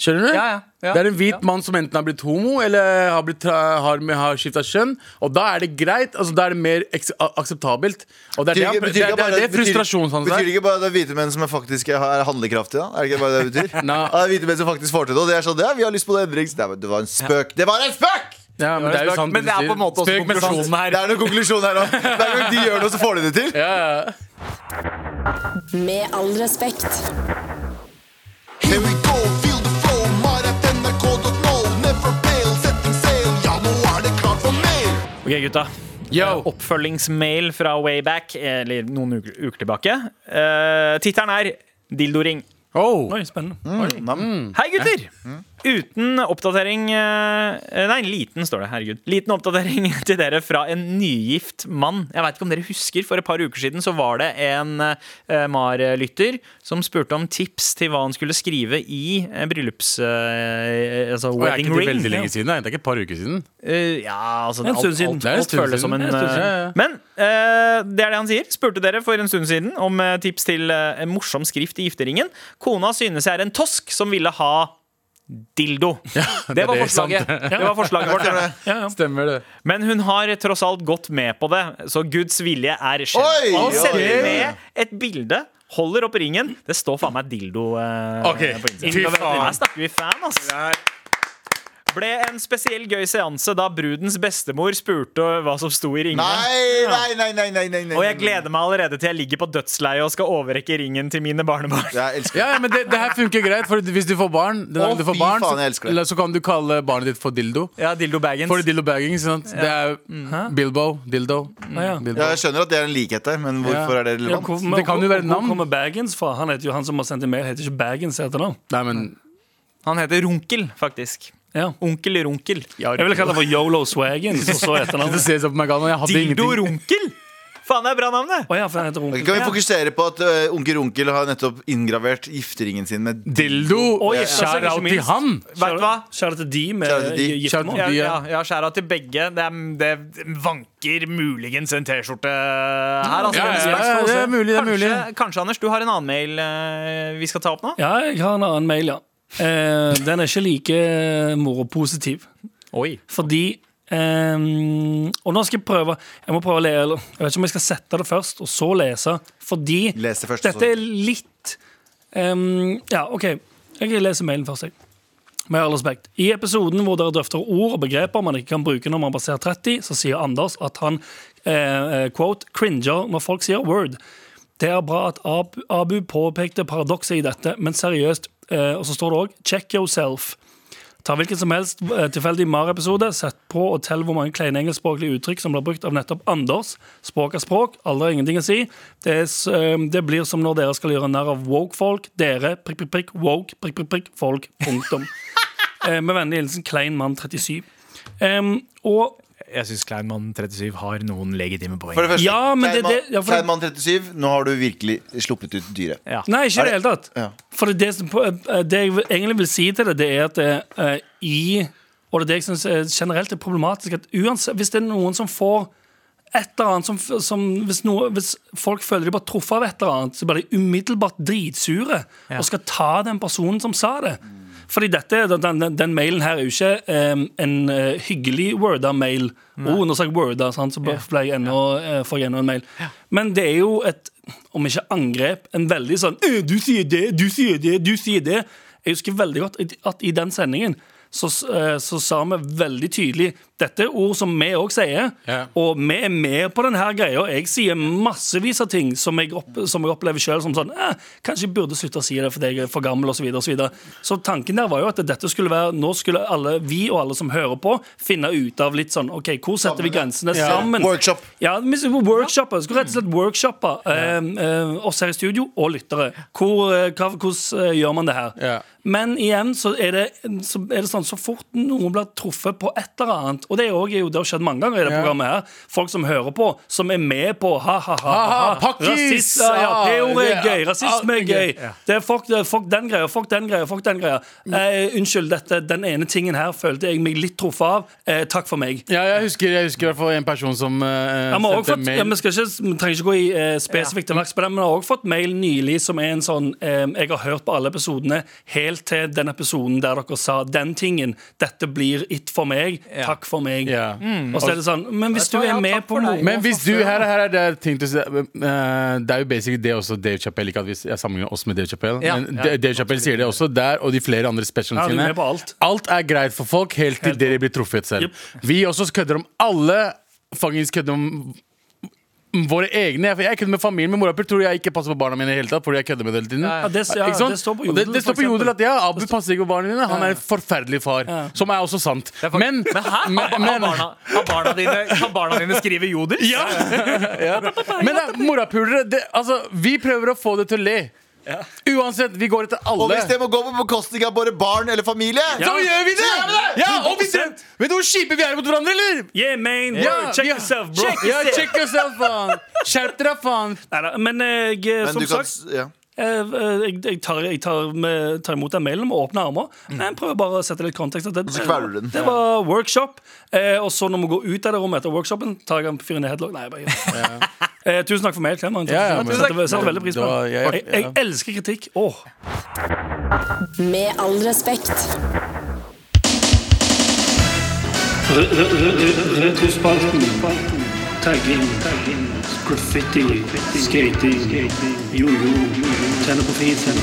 Speaker 4: Skjønner du?
Speaker 2: Mm. Ja, ja, ja,
Speaker 4: det er en hvit
Speaker 2: ja.
Speaker 4: mann som enten har blitt homo eller har, blitt, tra- har, har skifta kjønn. Og da er det greit. Altså, da er det mer eks- a- akseptabelt. Og det er det, han, det, er- sånn det, er det frustrasjonen hans
Speaker 5: Betyr
Speaker 4: er.
Speaker 5: ikke bare det er hvite menn som er faktisk er handlekraftige? da? Er det ikke bare det det betyr?
Speaker 4: Nei.
Speaker 5: Ja, det er hvite menn som faktisk får til det. Og det er sånn, ja, vi har lyst på det endring. Så Det var- det var en spøk! Det var en spøk!
Speaker 4: Ja, men det er jo sant
Speaker 2: Men det er på en måte også
Speaker 4: Spøk med sånn- sant.
Speaker 2: konklusjonen
Speaker 5: Det
Speaker 2: her.
Speaker 5: er noen konklusjon her òg. Hver gang de gjør noe, så får de det til.
Speaker 7: Med all respekt.
Speaker 9: Here we go, feel the flow, maratnrk.no. Never fail, setting sail, ja, nå er det klart for mail.
Speaker 2: Ok, gutta.
Speaker 4: Yo.
Speaker 2: Oppfølgingsmail fra Wayback, eller noen uker, uker tilbake. Uh, Tittelen er Dildoring.
Speaker 4: Oh.
Speaker 3: Oi, spennende.
Speaker 2: Hei, gutter!
Speaker 4: Mm.
Speaker 2: Uten oppdatering eh, Nei, liten står det. Herregud. Liten oppdatering til dere fra en nygift mann. Jeg veit ikke om dere husker, for et par uker siden så var det en eh, MAR-lytter som spurte om tips til hva han skulle skrive i eh, bryllups... eh, altså
Speaker 4: Og jeg er
Speaker 2: wedding
Speaker 4: ikke det
Speaker 2: ring.
Speaker 4: veldig lenge siden. Jeg. Det er ikke et par uker siden.
Speaker 2: Eh, ja, altså
Speaker 3: En
Speaker 2: alt,
Speaker 3: stund
Speaker 2: alt,
Speaker 3: siden. Det er en
Speaker 2: alt
Speaker 4: stund
Speaker 2: føles
Speaker 4: siden.
Speaker 2: som en,
Speaker 4: Det er en stund
Speaker 2: eh,
Speaker 4: siden, ja, ja.
Speaker 2: Men eh, det er det han sier. Spurte dere for en stund siden om eh, tips til eh, en morsom skrift i gifteringen. Kona synes jeg er en tosk som ville ha dildo. det,
Speaker 4: det
Speaker 2: var
Speaker 4: er
Speaker 2: forslaget. det var forslaget vårt.
Speaker 4: Stemmer det.
Speaker 2: Men hun har tross alt gått med på det, så Guds vilje er
Speaker 5: Oi,
Speaker 2: skjedd. Han
Speaker 5: oi,
Speaker 2: sender
Speaker 5: oi.
Speaker 2: med et bilde. Holder opp ringen. Det står faen meg dildo eh,
Speaker 4: Ok,
Speaker 2: på innsiden.
Speaker 4: fy
Speaker 2: Her snakker vi fan, ass. Ble en spesiell gøy seanse da brudens bestemor spurte hva som sto i ringene.
Speaker 5: Nei, nei, nei, nei, nei, nei, nei.
Speaker 2: Og jeg gleder meg allerede til jeg ligger på dødsleiet og skal overrekke ringen til mine barnebarn.
Speaker 5: Jeg elsker
Speaker 4: Ja, ja, men det, det her funker greit, for hvis du får barn, den dagen
Speaker 5: Å,
Speaker 4: du får
Speaker 5: fy
Speaker 4: barn
Speaker 5: faen, jeg
Speaker 4: så,
Speaker 5: elsker det.
Speaker 4: eller så kan du kalle barnet ditt for dildo.
Speaker 2: Ja, dildo baggins.
Speaker 4: For dildo bagging, ikke sant? Det er Bilbo, dildo.
Speaker 3: ja.
Speaker 4: Bilbo.
Speaker 5: ja, Jeg skjønner at det er en likhet der, men hvorfor er det
Speaker 3: Ja,
Speaker 5: relevant?
Speaker 3: hvor,
Speaker 4: Det kan jo være
Speaker 3: hvor,
Speaker 4: navn.
Speaker 3: hvor kommer Baggins fra? Han heter jo han som har sendt en mail, heter ikke Baggins etter navn.
Speaker 4: Nei, men
Speaker 2: Han heter Runkel, faktisk.
Speaker 3: Ja.
Speaker 2: Onkel Runkel.
Speaker 3: Jeg ville kalle det for Yolo Swaggins, og så etternavn.
Speaker 4: Det ses opp på meg, Galvan, jeg hadde
Speaker 2: Dildo
Speaker 4: ingenting.
Speaker 2: Runkel! Faen, det er bra navnet!
Speaker 3: Å ja, for han heter
Speaker 5: Ok,
Speaker 3: Onkel.
Speaker 5: Kan vi fokusere på at uh, onkel Runkel har nettopp inngravert gifteringen sin med
Speaker 4: Dildo!
Speaker 3: Oi,
Speaker 4: Ja,
Speaker 3: altså,
Speaker 4: Shout
Speaker 3: ikke
Speaker 4: out til
Speaker 3: minst.
Speaker 4: han!
Speaker 2: Vet du hva?
Speaker 3: Kjære til de
Speaker 5: Shout out
Speaker 3: med
Speaker 5: til de.
Speaker 4: Shout
Speaker 3: giftermål.
Speaker 2: Ja,
Speaker 4: out De,
Speaker 2: ja,
Speaker 4: ja.
Speaker 2: ja skjæra til begge. Det, er- det vanker muligens en T-skjorte her. Altså,
Speaker 4: Ja,
Speaker 2: Den
Speaker 4: ja,
Speaker 2: slags
Speaker 4: ja,
Speaker 2: får
Speaker 4: det er
Speaker 2: se.
Speaker 4: mulig, det er
Speaker 2: kanskje,
Speaker 4: mulig.
Speaker 2: kanskje, Anders, du har en annen mail eh, vi skal ta opp nå?
Speaker 3: Ja, jeg har en annen mail, ja. Eh, den er ikke like eh, moropositiv.
Speaker 2: Oi.
Speaker 3: Fordi eh, Og nå skal jeg prøve Jeg må prøve å le, eller Jeg vet ikke om jeg skal sette det først, og så lese. Fordi
Speaker 5: Les det først, og så-
Speaker 3: dette er litt eh, Ja, OK. Jeg leser mailen først, jeg. Med all respekt. I episoden hvor dere drøfter ord og begreper man ikke kan bruke når man passerer 30, så sier Anders at han eh, eh, quote, cringer når folk sier word. Det er bra at Ab Abu påpekte paradokset i dette, men seriøst. Eh, og så står det òg 'check yourself'. Ta hvilken som helst eh, tilfeldig MAR-episode, sett på og tell hvor mange kleine engelskspråklige uttrykk som blir brukt av nettopp Anders. Språk er språk, alder er ingenting å si. Det, er, s- eh, det blir som når dere skal gjøre narr av woke-folk. Dere, prikk, prikk, prikk, woke, prikk, prikk, prikk, folk, punktum. Eh, Med vennlig hilsen Klein mann 37. Em, og
Speaker 2: Jeg syns Kleinmann 37 har noen legitime poeng.
Speaker 5: For det første,
Speaker 3: Ja, men det-
Speaker 5: Kleinmann-
Speaker 3: det- ja, for det-
Speaker 5: Kleinmann 37, nå har du virkelig sluppet ut dyret.
Speaker 2: Ja.
Speaker 3: Nei, ikke i det
Speaker 5: Er
Speaker 3: hele tatt.
Speaker 5: Ja.
Speaker 3: For det, det, som, på- eh, det jeg vil- egentlig vil si til det, det er at eh, i Og det er det jeg syns generelt er problematisk, at uansett, hvis det er noen som får et eller annet som, som hvis, noe, hvis folk føler de bare truffet av et eller annet, så blir de umiddelbart dritsure og skal ta den personen som sa det. Fordi dette, den, den, den mailen her er jo ikke eh, en eh, hyggelig worda mail. Oh, nå sa jeg worda, sant? så bare ble jeg enda, eh, får jeg enda en mail. Men det er jo et, om ikke angrep, en veldig sånn «Øh, Du sier det, du sier det, du sier det. Jeg husker veldig godt at- at i den sendingen så, s- eh, så sa vi veldig tydelig Dette er ord som vi òg sier.
Speaker 4: Ja.
Speaker 3: Og vi er med på denne greia. Jeg sier massevis av ting som jeg, opp, som jeg opplever sjøl som sånn eh, Kanskje jeg burde slutte å si det fordi jeg er for gammel, osv. Så, videre, og så, videre. så tanken der var jo at dette skulle være Nå skulle alle vi og alle som hører på, finne ut av litt sånn OK, hvor setter vi grensene sammen?
Speaker 5: Workshop.
Speaker 3: Ja, vi skulle workshoppe. Vi skulle rett og slett workshoppe eh, eh, oss her i studio og lyttere. Hvor, eh, hva, hvordan eh, gjør man det her?
Speaker 4: Ja.
Speaker 3: Men igjen så er det, så er det sånn sånn så fort noen blir truffet på et eller annet Og det, er jo- er jo, det har skjedd mange ganger i det programmet her. Folk som hører på, som er med på ha-ha-ha.
Speaker 4: Ha, ha, pakkis!
Speaker 3: ja,
Speaker 4: Ah,
Speaker 3: P-ordet er
Speaker 4: det-
Speaker 3: gøy. Rasisme
Speaker 4: ah,
Speaker 3: er gøy.
Speaker 4: ja. Mm.
Speaker 3: Det er fuck, det, fuck den greia, fuck den greia, fuck den greia. Eh, unnskyld, dette, den ene tingen her følte jeg meg litt truffet av. Eh, takk for meg.
Speaker 4: Ja, jeg husker, jeg husker i hvert fall en person som eh,
Speaker 3: Jeg må
Speaker 4: sendte
Speaker 3: også fått, ja,
Speaker 4: mail.
Speaker 3: men skal ikke, vi trenger ikke gå i eh, spesifikt til verks på det, men jeg har også fått mail nylig som er en sånn eh, Jeg har hørt på alle episodene helt til den episoden der dere sa den tingen. Dette blir it for meg. Takk for meg.
Speaker 4: Ja.
Speaker 3: Og så er det sånn Men hvis du er med på noe
Speaker 4: Men hvis du, her, her er det ting til å si eh, Det er jo basically det også Dave Chappelle Ikke at vi s- jeg sammenligner oss med Dave Chappelle
Speaker 2: Ja.
Speaker 4: Men
Speaker 2: Ja.
Speaker 4: D- Dave Chappelle sier det også der Og de flere andre specialene
Speaker 3: Ja, du er
Speaker 4: sine
Speaker 3: med på alt.
Speaker 4: er greit for folk Helt til dere blir truffet selv Vi også kødder om alle Faktisk kødder om Våre egne Jeg- Jeg kødder med familien Min morapel tror jeg ikke passer på barna mine i det hele tatt Fordi jeg kødder med det hele tiden
Speaker 3: Ja, det- ja,
Speaker 4: Ikke sant?
Speaker 3: det står på
Speaker 4: Og det,
Speaker 3: Jodel,
Speaker 4: det står
Speaker 3: for
Speaker 4: på jodel
Speaker 3: eksempel.
Speaker 4: at ja, Abu passer ikke på barna dine Han er en forferdelig far Som er også sant
Speaker 2: er fakt-
Speaker 4: Men,
Speaker 2: Men hæ? Kan ba- kan barna, kan barna, dine, kan barna dine skrive jodel? Ja.
Speaker 4: Men da, morapulere det, altså, Vi prøver å få det til å le. Uansett, vi går etter alle.
Speaker 5: Og hvis det må gå på bekostning av både barn eller familie
Speaker 4: Så gjør vi det! Ja, og vi, vet du hvor kjipe vi er mot hverandre, eller?
Speaker 3: Yeah, man!
Speaker 4: Ja,
Speaker 3: word, check
Speaker 4: ja.
Speaker 3: yourself, bro!
Speaker 4: Ja, check yourself, faen. Skjerp dere, faen.
Speaker 3: Neida, men eh, jeg,
Speaker 5: Men
Speaker 3: som
Speaker 5: du kan
Speaker 3: sagt
Speaker 5: s- ja.
Speaker 3: Eh, eh, Jeg, jeg, tar, jeg tar, med, tar imot den mailen med åpne armer.
Speaker 4: Mm.
Speaker 3: Jeg prøver bare å sette litt kontekst. at Det,
Speaker 5: Så kveler du den.
Speaker 3: det var workshop. Eh, og så når vi går ut av det rommet etter workshopen, tar jeg en fyren i headlock. Nei, jeg bare eh, Tusen takk for mail, Clement.
Speaker 4: Ja, ja,
Speaker 3: Tusen
Speaker 4: men-
Speaker 3: takk. setter, setter veldig pris på
Speaker 4: Da-
Speaker 3: det.
Speaker 4: ja, ja,
Speaker 3: Jeg, jeg elsker kritikk. Åh.
Speaker 7: Med all respekt.
Speaker 10: Retrospalten. Tagging. Graffiti. Skating. Jojo. Tenne på fisen.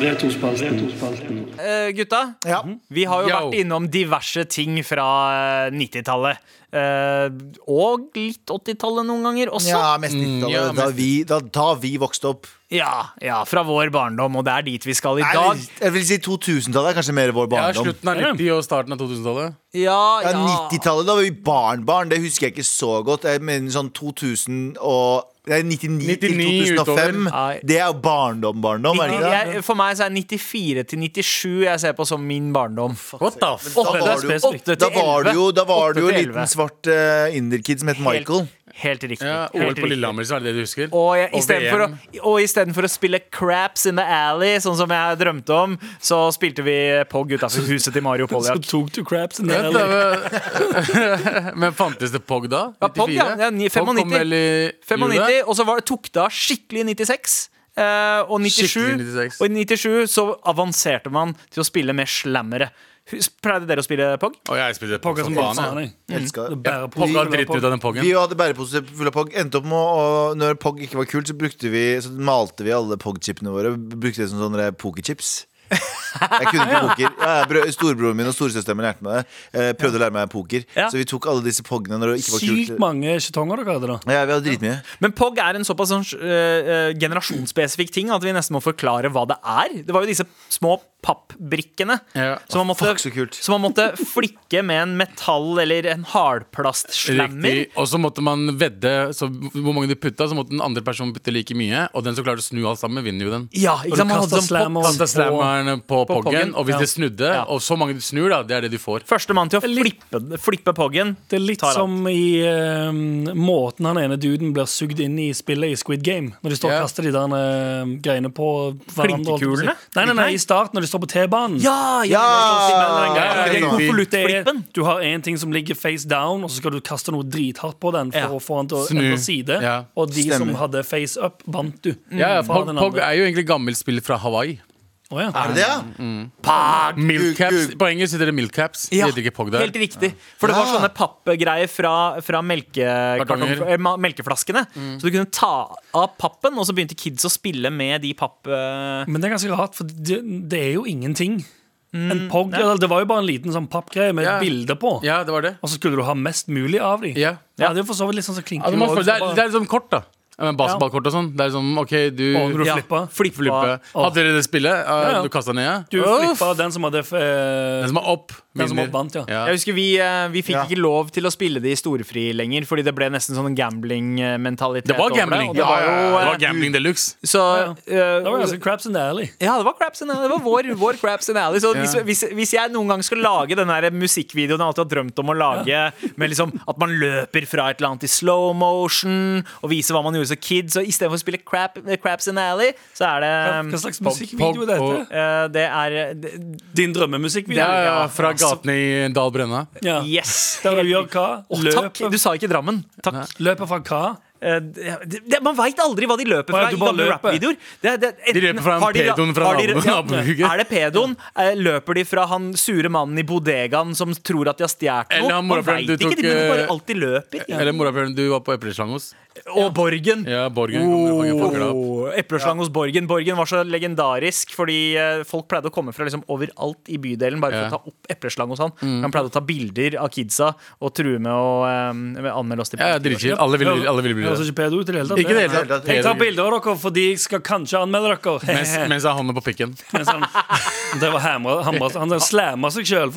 Speaker 10: Retrospalten.
Speaker 2: eh, gutta,
Speaker 5: Ja.
Speaker 2: vi har jo
Speaker 4: Yo.
Speaker 2: vært innom diverse ting fra eh, 90-tallet. Eh, og litt 80-tallet noen ganger også.
Speaker 5: ja, mest
Speaker 3: Mm,
Speaker 5: 90-tallet.
Speaker 4: ja,
Speaker 5: da, vi- da, da vi vokste opp.
Speaker 2: Ja, ja, fra vår barndom, og det er dit vi skal i
Speaker 5: Nei,
Speaker 2: dag.
Speaker 5: Jeg vil si 2000-tallet er kanskje mer vår
Speaker 4: Ja,
Speaker 5: barndom.
Speaker 4: slutten av 90- og starten av 2000-tallet.
Speaker 2: Ja,
Speaker 5: Ja,
Speaker 2: ja.
Speaker 5: 90-tallet, da var vi barnbarn. Det husker jeg ikke så godt. Jeg mener sånn 2000 og Nei, 99, til
Speaker 4: 99 utover.
Speaker 5: 2005.
Speaker 2: Nei.
Speaker 5: Det er jo barndom-barndom, er det ikke det?
Speaker 2: jeg, for meg så er 94 til 97 jeg ser på som min barndom.
Speaker 4: What the f...
Speaker 5: Da
Speaker 2: Åtte-
Speaker 5: var det jo-
Speaker 2: åtte til
Speaker 5: Da var det jo, da var
Speaker 2: Åtte
Speaker 5: det jo
Speaker 2: til
Speaker 5: en
Speaker 2: elleve.
Speaker 5: liten svart eh, inderkid som het
Speaker 2: Helt-
Speaker 5: Michael.
Speaker 2: Helt riktig.
Speaker 4: Ja, OL
Speaker 2: helt
Speaker 4: på
Speaker 2: riktig.
Speaker 4: Lillehammer, så er det det du husker?
Speaker 2: Og jeg- i stedet
Speaker 4: VM.
Speaker 2: for å- og istedenfor å, spille Craps in the Alley, sånn som jeg drømte om, så spilte vi på Gutta for huset til Mario
Speaker 3: Så
Speaker 2: Poljak.
Speaker 3: tok du craps. en
Speaker 4: Vent
Speaker 3: del.
Speaker 4: da, men- Men fantes det POG da?
Speaker 2: Ja, POG, ja.
Speaker 4: 94?
Speaker 2: Ja, ni-
Speaker 4: POG kom
Speaker 2: 95.
Speaker 4: vel i jula?
Speaker 2: 95, og så var det, tok det av skikkelig i 96. eh, og, 97,
Speaker 4: Skikkelig 96.
Speaker 2: og i 97 så avanserte man til å spille med slammere. Hus- Pleide dere å spille POG?
Speaker 4: Og jeg spilte POG
Speaker 3: Pokker som
Speaker 4: som
Speaker 3: bare
Speaker 4: faen.
Speaker 3: faen,
Speaker 4: jeg.
Speaker 3: jeg.
Speaker 5: Elska det.
Speaker 3: Bærer på-
Speaker 4: POG har dritt ut av den POG-en.
Speaker 5: Vi hadde bærepose full av POG. Endte opp med å, å- Når POG ikke var kult, så, brukte vi, så malte vi alle POG-chipene våre. Brukte det som sånne pokerchips. Jeg kunne ikke poker. Ja, jeg brø- storebroren min og storesøsteren min lærte meg det. Eh, Prøvde å lære meg poker.
Speaker 2: Ja.
Speaker 5: Så vi tok alle disse POG-ene når det ikke var
Speaker 3: Sykt
Speaker 5: kult.
Speaker 3: mange skjetonger dere hadde da.
Speaker 5: Ja, vi hadde dritmye.
Speaker 2: Men POG er en såpass sånn, eh, eh, generasjonsspesifikk ting at vi nesten må forklare hva det er. Det var jo disse små pappbrikkene
Speaker 4: Ja.
Speaker 2: som, man måtte,
Speaker 5: Fuck, så kult.
Speaker 2: som man måtte flikke med en metall eller en hardplastslammer.
Speaker 4: Riktig. Og så måtte man vedde så hvor mange de putta, så måtte den andre personen putte like mye. Og den som klarte å snu alt sammen, vinner jo den.
Speaker 2: Ja,
Speaker 3: Og
Speaker 2: ikke
Speaker 3: du
Speaker 2: sant? Man hadde
Speaker 3: kastet
Speaker 2: sånn
Speaker 3: slam
Speaker 2: pop-
Speaker 3: og-
Speaker 4: Kasta slammeren på,
Speaker 2: på poggen,
Speaker 4: poggen, og hvis
Speaker 2: ja.
Speaker 4: det snudde,
Speaker 2: Ja.
Speaker 4: og så mange de snur, da, det er det de får.
Speaker 2: Førstemann til å flippe, flippe poggen.
Speaker 3: Det er litt
Speaker 2: Tar alt.
Speaker 3: som i eh, måten han ene duden blir sugd inn i spillet i Squid Game. Når de står
Speaker 4: Ja.
Speaker 3: og kaster de der eh, greiene på hverandre. holdt jeg på å si.
Speaker 2: Flinkekulene?
Speaker 3: Nei, nei, nei, i starten når de står på T-banen.
Speaker 2: Ja! ja,
Speaker 5: Ja!
Speaker 4: Ja, ja,
Speaker 3: Det er
Speaker 4: ja.
Speaker 3: konvolutt, det er-
Speaker 2: Flippen.
Speaker 3: Du har en ting som ligger face down, og så skal du kaste noe drithardt på den for
Speaker 2: Ja.
Speaker 3: å få den til å
Speaker 4: Snu.
Speaker 3: endre side.
Speaker 4: Ja.
Speaker 3: Og de
Speaker 5: Stemmer.
Speaker 3: som hadde face up, vant du.
Speaker 4: Ja, ja,
Speaker 3: Fra
Speaker 4: Pog,
Speaker 3: den
Speaker 4: Pog
Speaker 3: andre.
Speaker 4: er jo egentlig gammelt spill fra Hawaii.
Speaker 3: Å, ja.
Speaker 5: Er det det, ja?
Speaker 4: Milkcaps.
Speaker 5: Gug-
Speaker 4: På engelsk heter det milkcaps.
Speaker 2: Ja,
Speaker 4: Ja. Det heter ikke Pog der.
Speaker 2: Helt riktig. For det var
Speaker 5: Ja.
Speaker 2: sånne pappgreier fra, fra melkekartong,
Speaker 4: Kartonger. Mm.
Speaker 2: eh, ma- melkeflaskene. Så du kunne ta av pappen, og så begynte kids å spille med de papp... eh,
Speaker 3: Men det er ganske rart, for det, det er jo ingenting. En pog, eller, det var jo bare en liten sånn pappgreie med
Speaker 4: Mm, Ja.
Speaker 3: et bilde på.
Speaker 4: Ja, det var det.
Speaker 3: Og så skulle du ha mest mulig av dem.
Speaker 4: Ja.
Speaker 3: Det er jo for så vidt litt sånn som
Speaker 4: Ja, du må spørre- det, er, det er liksom kort, da. Ja, men basketballkort og sånn. Det er sånn, OK, du
Speaker 3: Og når du
Speaker 4: Ja.
Speaker 3: flippa.
Speaker 4: Flipp, flippe.
Speaker 3: Åh.
Speaker 4: Hadde dere det spillet? Uh,
Speaker 3: Ja, ja.
Speaker 4: Du kasta ned? Ja?
Speaker 3: Du
Speaker 4: Uff.
Speaker 3: flippa den som hadde eh,
Speaker 4: Den som var opp.
Speaker 3: Den som
Speaker 4: vinner.
Speaker 3: opp vant, ja.
Speaker 2: Jeg husker Vi, eh, vi fikk ikke lov til å spille det i storfri lenger, fordi det ble nesten sånn en gambling-mentalitet.
Speaker 4: Det var
Speaker 2: over
Speaker 4: gambling.
Speaker 2: og det var jo,
Speaker 4: Det
Speaker 2: eh,
Speaker 4: var gambling deluxe.
Speaker 2: Så
Speaker 3: ja.
Speaker 2: eh,
Speaker 3: Det var ganske craps in the alley.
Speaker 2: Ja, det var craps in alley. Det var vår, vår craps in alley. Så hvis, hvis, hvis jeg noen gang skal lage den der musikkvideoen jeg alltid har drømt om å lage, med liksom at man løper fra et eller annet i slow motion, og viser hva man gjorde som kid, så istedenfor å spille crap, craps in alley, så er det
Speaker 3: Hva slags musikkvideo er
Speaker 4: pog-
Speaker 3: dette?
Speaker 2: eh, Det er det,
Speaker 3: Din
Speaker 4: Ja,
Speaker 3: drømmemusikkvideo? altså,
Speaker 4: ja, fra gatene i Dal Brenna.
Speaker 3: Ja.
Speaker 2: Yes!
Speaker 3: Der du gjør hva?
Speaker 2: Å, takk!
Speaker 3: Løper,
Speaker 2: Du sa ikke Drammen. Takk.
Speaker 3: løper fra hva?
Speaker 2: Eh, det, det, man veit aldri hva de løper
Speaker 3: Å,
Speaker 2: fra
Speaker 3: ja, du
Speaker 2: i
Speaker 3: bare
Speaker 2: gamle
Speaker 3: løper.
Speaker 2: rappvideoer. Det, det,
Speaker 4: De løper fra en
Speaker 2: har de-
Speaker 4: pedoen fra
Speaker 2: har de-
Speaker 4: nabo-
Speaker 2: ja,
Speaker 4: nabohuget.
Speaker 2: Er det pedoen? Eh, Løper de fra han sure mannen i bodegaen som tror at de har stjålet
Speaker 4: Eller
Speaker 2: noe?
Speaker 4: han
Speaker 2: Man
Speaker 4: morapuleren
Speaker 2: veit
Speaker 4: du
Speaker 2: ikke,
Speaker 4: tok,
Speaker 2: de men de bare
Speaker 4: eh,
Speaker 2: alltid løper.
Speaker 4: Eller morapuleren du var på epleslang hos.
Speaker 2: Og Borgen.
Speaker 4: Ja, Borgen kommer og fanger- fanger deg opp.
Speaker 2: Oh, Epleslang hos Borgen. Borgen var så legendarisk fordi eh, folk pleide å komme fra liksom overalt i bydelen bare
Speaker 4: Ja.
Speaker 2: for
Speaker 4: Mm.
Speaker 2: å ta opp epleslang hos han. Han pleide å ta bilder av kidsa og true med å eh, med å anmelde oss til
Speaker 4: Ja, ja,
Speaker 2: politiet.
Speaker 4: dritkjipt. Alle ville alle ville bli
Speaker 3: Høres
Speaker 4: det.
Speaker 3: ikke pedo ut i det hele tatt.
Speaker 4: Ikke i det hele
Speaker 5: Nei,
Speaker 4: tatt.
Speaker 5: det
Speaker 3: Jeg tar
Speaker 4: Pedo-
Speaker 3: bilder av dere fordi jeg skal kanskje anmelde dere.
Speaker 4: Mens, mens jeg har hånda på pikken.
Speaker 3: Mens han, det var hamra, han bare- han slamma seg sjøl.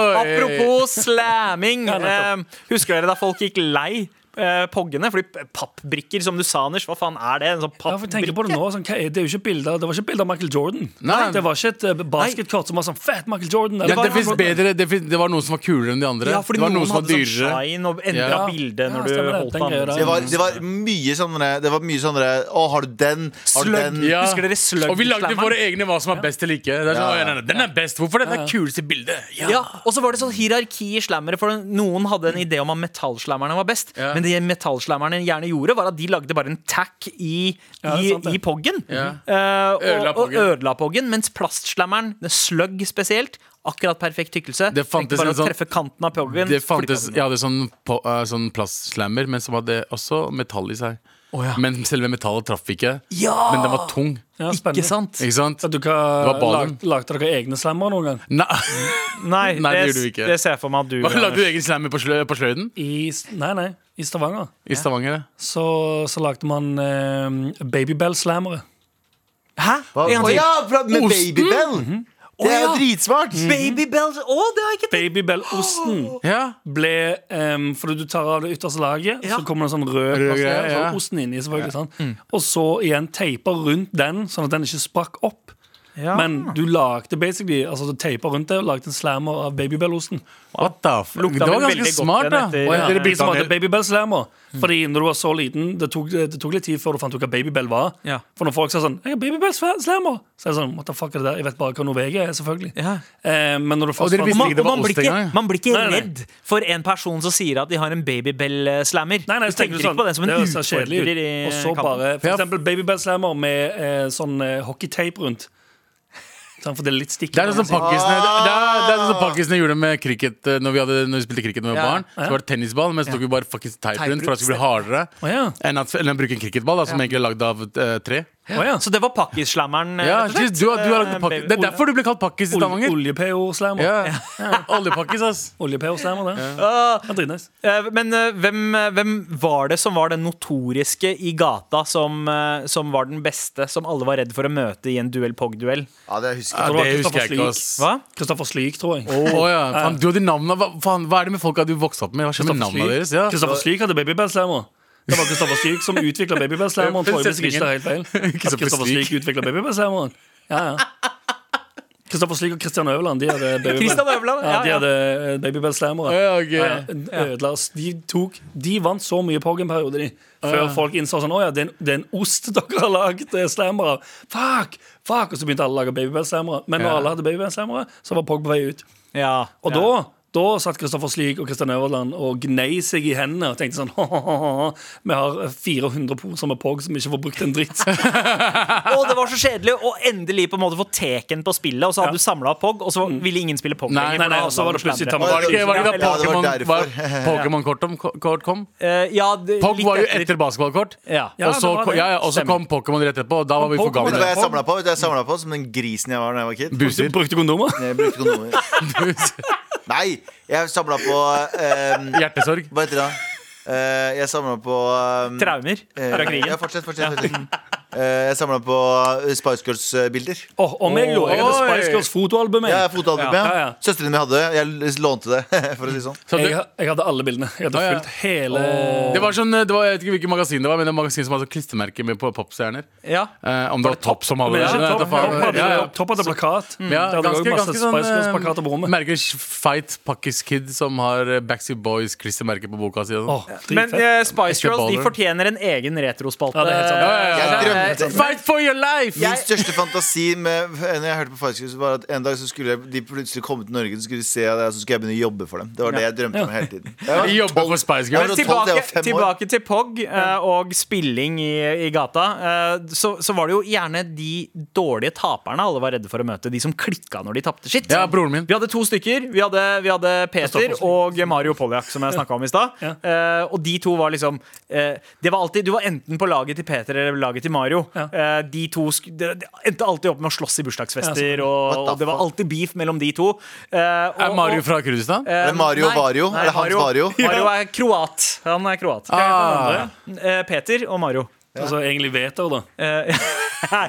Speaker 2: Apropos slamming.
Speaker 3: Ja, nettopp.
Speaker 2: eh, husker dere da folk gikk lei eh, poggene? Fordi p- pappbrikker, som du sa, Anders, hva faen er det? En sånn
Speaker 3: Ja, for tenker på
Speaker 2: pappbrikke?
Speaker 3: Det nå sånn, hva er- det er jo ikke bilder Det var ikke bilder av Michael Jordan.
Speaker 4: Nei.
Speaker 3: Det var ikke et eh, basketkort som var sånn fett Michael Jordan.
Speaker 4: Det,
Speaker 3: eller-
Speaker 4: det, finnes bedre, det, fin- det var noen som var kulere enn de andre.
Speaker 2: Ja,
Speaker 4: det
Speaker 2: fordi
Speaker 4: var
Speaker 2: noen
Speaker 4: noen som var
Speaker 2: hadde sånn
Speaker 4: dyrere.
Speaker 2: shine og endra
Speaker 4: Ja.
Speaker 2: bildet når
Speaker 3: Ja,
Speaker 2: du
Speaker 3: stemmer det.
Speaker 2: holdt sånn.
Speaker 3: Den greia
Speaker 2: den.
Speaker 3: der.
Speaker 5: Det var, det var mye sånne Det var mye sånne Å, har du den? Har du den?
Speaker 4: Ja.
Speaker 2: Husker dere slug
Speaker 4: Og vi lagde
Speaker 2: slammeren?
Speaker 4: våre egne hva som er best eller ikke. Det er sånn, «Å, ja, nei, nei, Den er best, Hvorfor det? Det er kuleste bildet. Ja.
Speaker 2: Ja, og så var det sånn hierarki i slammere, for noen hadde en idé om at metallslammerne var best.
Speaker 4: Ja.
Speaker 2: Men det metallslammerne gjerne gjorde, var at de lagde bare en tack i,
Speaker 3: Ja, det
Speaker 2: i,
Speaker 3: er sant det.
Speaker 2: i poggen.
Speaker 4: Ja.
Speaker 2: Eh, og,
Speaker 4: Ødela
Speaker 2: og
Speaker 4: poggen.
Speaker 2: ødela poggen. Mens plastslammeren, det slugg spesielt, akkurat perfekt tykkelse.
Speaker 4: Det fantes
Speaker 2: Tenkte bare
Speaker 4: en sånn-
Speaker 2: å treffe kanten av poggen.
Speaker 4: Det fantes,
Speaker 2: flippa den.
Speaker 4: Jeg hadde sånn, på- eh, sånn plastslammer, men som hadde også metall i seg. Men selve metallet traff ikke.
Speaker 2: Ja!
Speaker 4: Men den var tung.
Speaker 3: Ja, spennende.
Speaker 2: Ikke sant?
Speaker 4: Ikke sant?
Speaker 3: At du hva,
Speaker 4: Det var ballen.
Speaker 3: lag, lagde dere egne slammer noen gang?
Speaker 4: Nei,
Speaker 2: Nei,
Speaker 4: Nei, det
Speaker 2: det,
Speaker 4: gjorde vi ikke.
Speaker 2: det ser jeg for meg at du
Speaker 4: Lagde du
Speaker 2: Anders.
Speaker 4: egen slammer på, slø, på Sløyden?
Speaker 3: I, S- nei, nei, i Stavanger
Speaker 4: I Stavanger? ja.
Speaker 3: så, så lagde man eh, babybell-slammere.
Speaker 2: Hæ? En gang
Speaker 5: Å
Speaker 2: til.
Speaker 5: ja, fra, med Babybell! Det er jo dritsmart!
Speaker 2: Babybell Å, det har jeg ikke tenkt
Speaker 3: Babybell-osten.
Speaker 4: Ja.
Speaker 3: ble um, Fordi du tar av det ytterste laget,
Speaker 2: Ja. Mm.
Speaker 3: så kommer det en sånn rød
Speaker 4: Rød
Speaker 3: plass der,
Speaker 4: greie,
Speaker 3: så
Speaker 4: ja.
Speaker 3: er osten inni, selvfølgelig. sant? Og så igjen teipa rundt den, sånn at den ikke sprakk opp.
Speaker 2: Ja.
Speaker 3: Men du lagde basically Altså du teipa rundt det og lagde en slammer av babybellosten.
Speaker 4: What the fuck?
Speaker 2: Lukta
Speaker 4: det var
Speaker 2: vel
Speaker 4: ganske
Speaker 2: veldig godt
Speaker 4: smart, da.
Speaker 2: igjen etter- eh,
Speaker 4: Å, ja. Mm.
Speaker 2: Ja,
Speaker 3: Det blir som at
Speaker 4: Daniel-
Speaker 3: det er babybell-slammer. Fordi når du var så liten, det tok, det tok litt tid før du fant ut hva babybell var.
Speaker 2: Ja.
Speaker 3: For når folk sa sånn 'Jeg har babybell-slammer', så er det sånn What the fuck er det der? Jeg vet bare hva Norvegia er, selvfølgelig.
Speaker 2: Ja.
Speaker 3: Eh, men når du
Speaker 4: Og
Speaker 3: først
Speaker 4: dere
Speaker 3: fant-
Speaker 4: visste
Speaker 2: man,
Speaker 4: ikke det var
Speaker 2: man, blir
Speaker 4: ost
Speaker 2: ikke,
Speaker 4: engang.
Speaker 2: man blir ikke
Speaker 3: Nei, nei, nei.
Speaker 2: redd for en person som sier at de har en babybell-slammer.
Speaker 3: Nei, nei,
Speaker 2: Du tenker ikke på den som en
Speaker 3: sånn, det høres så kjedelig ut.
Speaker 2: utfordrer i
Speaker 3: Og så
Speaker 2: kampen.
Speaker 3: bare for
Speaker 4: Ja.
Speaker 3: eksempel babybell-slammer med eh, sånn eh, hockeytape rundt. Sånn, for det er litt stikk.
Speaker 4: Det er sånn som pakkisene, det, det er, det er sånn som pakkisene gjorde med cricket eh, når vi, hadde, når vi spilte cricket når vi var
Speaker 2: Ah. Ja.
Speaker 4: barn. Så var det tennisball, men så tok vi bare fuckings teip
Speaker 2: Teip
Speaker 4: rundt for at det skulle bli hardere.
Speaker 3: Å ja.
Speaker 4: Enn at, eller bruke en cricketball da, som egentlig er lagd av eh, tre.
Speaker 3: Å ja.
Speaker 2: Så det var pakkislammeren,
Speaker 4: Ja,
Speaker 2: rett og
Speaker 4: Jesus,
Speaker 2: slett. Eh,
Speaker 4: du, har- du har lagd pakkis. Det er
Speaker 2: Baby-
Speaker 4: derfor du ble kalt pakkis i
Speaker 3: Ol
Speaker 4: Stavanger.
Speaker 3: Oljepeo-slammer.
Speaker 4: Ja. Oljepakkis, ass.
Speaker 3: Oljepeo-slammer, det. Det er dritnice.
Speaker 2: Eh, Men eh, hvem, eh, hvem var det som var den notoriske i gata som, eh, som var den beste, som alle var redd for å møte i en duell-pog-duell?
Speaker 5: Ja, det husker jeg.
Speaker 4: Ja,
Speaker 3: det var
Speaker 4: det
Speaker 3: Kristoffer
Speaker 4: husker jeg ikke,
Speaker 3: Slyk.
Speaker 4: ass.
Speaker 2: Hva?
Speaker 3: Kristoffer Slyk, tror
Speaker 2: Oh.
Speaker 3: jeg.
Speaker 4: Å ja, faen, du hadde navnet hva, faen, hva er det med folka du vokste opp med? Hva skjer med navnene deres? Ja.
Speaker 3: Kristoffer Slyk hadde babybell-slammer. Det var Kristoffer Slyk som utvikla babybell-slammeren.
Speaker 4: Den
Speaker 3: Tror jeg hvis jeg ikke tar helt feil. At
Speaker 4: Kristoffer
Speaker 3: Kristoffer
Speaker 4: Slyk.
Speaker 3: Slyk utvikla babybell-slammeren. Ja, ja. Kristoffer Slyk og Kristian Øverland, de hadde
Speaker 2: Kristian
Speaker 3: babybell.
Speaker 2: Øvland?
Speaker 3: Ja, de
Speaker 2: Ja, ja.
Speaker 3: hadde babybell-slammere.
Speaker 4: Å, ja, ok.
Speaker 3: Ja, ja. Ødela oss. De, tok, de vant så mye på en periode, de. Før folk innså sånn Å ja, det er en, det er en ost dere har lagd eh, slammer av. Fuck! Fuck! Og så begynte alle å lage babybell-slammere. Men når alle hadde babybell-slammere, så var Pog på vei ut.
Speaker 2: ja.
Speaker 3: Og da, da satt Kristoffer Slyk og Kristian Øverland og gnei seg i hendene og tenkte sånn «Hahaha, Vi har 400 poser med Pog som ikke får brukt en dritt.
Speaker 2: Og det var så kjedelig å endelig på en måte få teken på spillet, og så hadde du samla opp pog, og så ville ingen spille pog
Speaker 4: Nei,
Speaker 2: lenger,
Speaker 4: nei,
Speaker 2: for
Speaker 3: nei,
Speaker 2: da
Speaker 3: og så var det
Speaker 2: hadde
Speaker 3: plutselig
Speaker 2: slammer.
Speaker 3: Tamagotchi.
Speaker 4: Var det ikke, var det
Speaker 2: Ja,
Speaker 4: da
Speaker 2: eller-
Speaker 5: det var
Speaker 4: Pokémon-
Speaker 5: derfor.
Speaker 4: var Pokémon-kort om- kort kom?
Speaker 2: Eh, ja, det-
Speaker 4: Pog
Speaker 2: litt
Speaker 4: var jo etter basketballkort.
Speaker 2: Ja.
Speaker 3: Ja,
Speaker 4: og så,
Speaker 3: det var det.
Speaker 4: ja, ja, og så kom Pokémon rett etterpå, og da var vi for
Speaker 3: Pokémon,
Speaker 5: Vet du
Speaker 4: gamle.
Speaker 5: hva jeg samla på? Vet du hva jeg samla på Som den grisen jeg var da jeg var kid?
Speaker 4: Buser.
Speaker 3: Brukte kondomer?
Speaker 5: Jeg brukte kondomer. Nei, jeg samla på eh,
Speaker 4: Hjertesorg.
Speaker 5: Hva heter det? da? Eh, jeg samla på um,
Speaker 2: Traumer
Speaker 3: Eh.
Speaker 2: fra krigen.
Speaker 5: Ja, fortsett, fortsett, fortsett. Eh, Jeg samla på eh, Spice Girls-bilder.
Speaker 3: Åh, om jeg lå jeg hadde Spice Girls fotoalbum. jeg.
Speaker 5: Ja, fotoalbumet.
Speaker 3: Ja, ja, ja.
Speaker 5: Søsteren min hadde det. Jeg lånte det, for å si det sånn.
Speaker 4: Så det,
Speaker 3: Jeg, jeg hadde alle bildene. Jeg hadde
Speaker 4: Å, ja.
Speaker 3: fulgt hele
Speaker 4: det var sånn, det var, jeg vet ikke hvilket magasin det var, men det var magasin som hadde sånn klistremerke med på popstjerner.
Speaker 2: Ja.
Speaker 4: Eh, om det var Topp som hadde
Speaker 3: Men
Speaker 4: det.
Speaker 3: det er ikke
Speaker 4: vet da
Speaker 3: topp,
Speaker 4: faen.
Speaker 3: topp hadde-
Speaker 4: Ja, ja.
Speaker 3: Topp hadde plakat.
Speaker 4: Ja,
Speaker 3: det hadde
Speaker 4: ganske,
Speaker 3: også masse
Speaker 4: ganske sånn
Speaker 3: Spice Girls-plakater på
Speaker 4: eh,
Speaker 3: rommet.
Speaker 4: merker Fight Pakkis Kid som har eh, Backstreet Boys klistremerke på boka si. og sånn.
Speaker 3: Åh,
Speaker 2: Men
Speaker 3: dritfett.
Speaker 2: eh, Spice
Speaker 4: Escape
Speaker 2: Girls de
Speaker 4: Baller.
Speaker 2: fortjener en egen retrospalte.
Speaker 3: Ja, det er helt sant. Ja, ja,
Speaker 5: ja.
Speaker 2: Eh,
Speaker 5: Jeg drømte om
Speaker 4: Fight for your life!
Speaker 5: Min største fantasi med, når jeg hørte på Fight Girls, var at en dag så skulle jeg- de plutselig komme til Norge, så skulle de se det, så skulle jeg begynne å jobbe for dem. Det var det jeg drømte om hele tiden.
Speaker 4: Jeg
Speaker 5: Ja.
Speaker 4: Jobber for Spice
Speaker 5: Jeg
Speaker 4: Girls.
Speaker 5: var
Speaker 2: Men
Speaker 5: så tolv, jeg var
Speaker 2: tilbake,
Speaker 5: fem år.
Speaker 2: tilbake til POG eh, og spilling i, i gata. eh, så, så var det jo gjerne de dårlige taperne alle var redde for å møte. De som klikka når de tapte sitt.
Speaker 4: Ja, broren min.
Speaker 2: Vi hadde to stykker. Vi hadde, vi hadde Peter og Mario Poljak, som jeg snakka om i stad. Eh, og de to var liksom eh, Det var alltid Du var enten på laget til Peter eller laget til Mario. Eh, de to sk de, de endte alltid opp med å slåss i bursdagsfester, og,
Speaker 5: What the
Speaker 2: og det var
Speaker 5: fuck?
Speaker 2: alltid beef mellom de to. Eh, og-
Speaker 4: Er Mario
Speaker 2: og-
Speaker 4: fra Kurdistan?
Speaker 5: Er det Mario
Speaker 2: Um, Nei,
Speaker 5: Vario?
Speaker 2: nei,
Speaker 5: Er det hans Vario?
Speaker 2: Mario er kroat. Han er kroat.
Speaker 4: Ah.
Speaker 2: Eh, Peter og Mario.
Speaker 3: Altså egentlig Veter, da.
Speaker 2: Eh,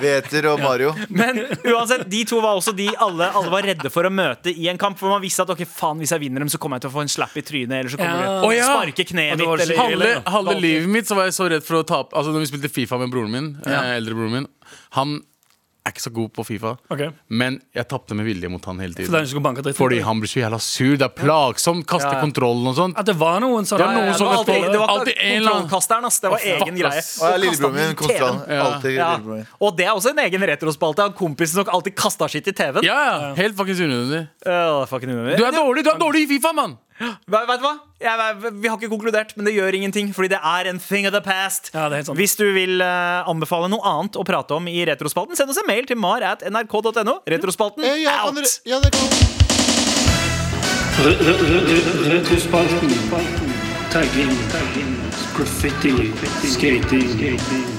Speaker 5: Veter og Mario.
Speaker 2: men uansett, de to var også de alle, alle var redde for å møte i en kamp. For man visste at ok, faen, hvis jeg vinner dem, så kommer jeg til å få en slapp i trynet. Eller så kommer
Speaker 3: Ja.
Speaker 2: de
Speaker 4: Å,
Speaker 2: til å
Speaker 4: ja.
Speaker 2: sparke kneet
Speaker 3: Og det var
Speaker 2: mitt.
Speaker 3: så
Speaker 2: Eller,
Speaker 4: Halve,
Speaker 3: Eller, da.
Speaker 4: halve livet mitt så var jeg så redd for å tape Altså når vi spilte Fifa med broren min, eh, eldre broren min Han er ikke så god på Fifa,
Speaker 3: Ok.
Speaker 4: men jeg tapte med vilje mot han hele
Speaker 3: Så det er
Speaker 4: tiden.
Speaker 3: liksom ikke så banka dritt.
Speaker 4: Fordi han blir så jævla sur. Det er plagsomt. Kaster
Speaker 2: Ja, ja.
Speaker 4: kontrollen og sånn.
Speaker 3: At det var noen sånne
Speaker 4: Det var noen
Speaker 2: det
Speaker 4: som
Speaker 2: var alltid, det var
Speaker 4: Alltid en eller annen-
Speaker 2: kontrollkasteren, ass. Det var
Speaker 4: Å, fuck,
Speaker 2: egen greie.
Speaker 4: ass.
Speaker 5: Og jeg er lillebroren min.
Speaker 2: kastet han i
Speaker 5: Konstant.
Speaker 2: TV-en.
Speaker 4: Ja.
Speaker 5: Alltid lillebroren min.
Speaker 2: Ja. Og det er også en egen retrospalte. Han Kompisen som alltid kasta sitt i TV-en.
Speaker 4: Ja, ja. Helt fuckings unødvendig.
Speaker 2: Åh, fucking unødvendig.
Speaker 4: Du er dårlig du er dårlig i Fifa, mann!
Speaker 2: Hva- Vet du hva? Jeg, jeg- vi har ikke konkludert, men det gjør ingenting. Fordi det er en thing of the past.
Speaker 3: Ja, det er helt sant.
Speaker 2: Hvis du vil eh, anbefale noe annet å prate om i Retrospalten, send oss en mail til mar at nrk.no. Retrospalten
Speaker 5: Eh, ja,
Speaker 2: out!
Speaker 5: andre- ja, det kan-
Speaker 10: Re- re- re- Retrospalten. Tagging. Graffiti. Skating.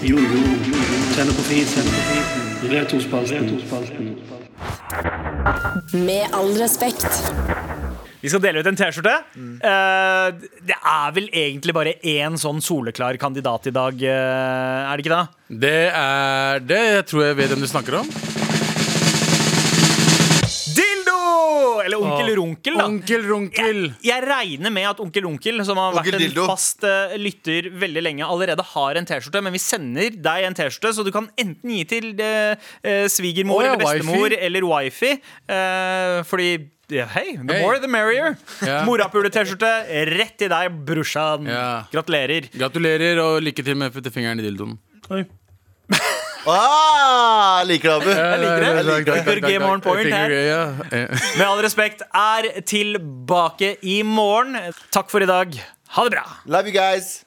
Speaker 10: Jojo. Tenne på fisen. Retrospalten.
Speaker 7: Med all respekt.
Speaker 2: Vi skal dele ut en T-skjorte. Eh, det er vel egentlig bare én sånn soleklar kandidat i dag, eh, er det ikke det?
Speaker 4: Det er det. Jeg tror jeg vet hvem du snakker om.
Speaker 2: Dildo! Eller Onkel Runkel, da.
Speaker 4: Onkel Runkel.
Speaker 2: Jeg regner med at Onkel Onkel, som har
Speaker 5: Onkel
Speaker 2: vært en
Speaker 5: Dildo.
Speaker 2: fast eh, lytter veldig lenge, allerede har en T-skjorte, men vi sender deg en T-skjorte, så du kan enten gi til eh, eh, svigermor
Speaker 4: Å, ja,
Speaker 2: eller bestemor
Speaker 4: wifi.
Speaker 2: eller wifi. eh, fordi ja, Hei, the
Speaker 4: Hei.
Speaker 2: more the merrier.
Speaker 4: Ja.
Speaker 2: Morapule-T-skjorte rett til deg, brorsan.
Speaker 4: Ja.
Speaker 2: Gratulerer.
Speaker 4: Gratulerer, og lykke til med å putte fingeren i dildoen.
Speaker 5: Ah, liker det, Abu.
Speaker 2: Jeg liker det.
Speaker 5: Jeg liker det.
Speaker 2: Good game on point her.
Speaker 4: Eh.
Speaker 2: Med all respekt er tilbake i morgen. Takk for i dag. Ha det bra.
Speaker 5: Love you guys.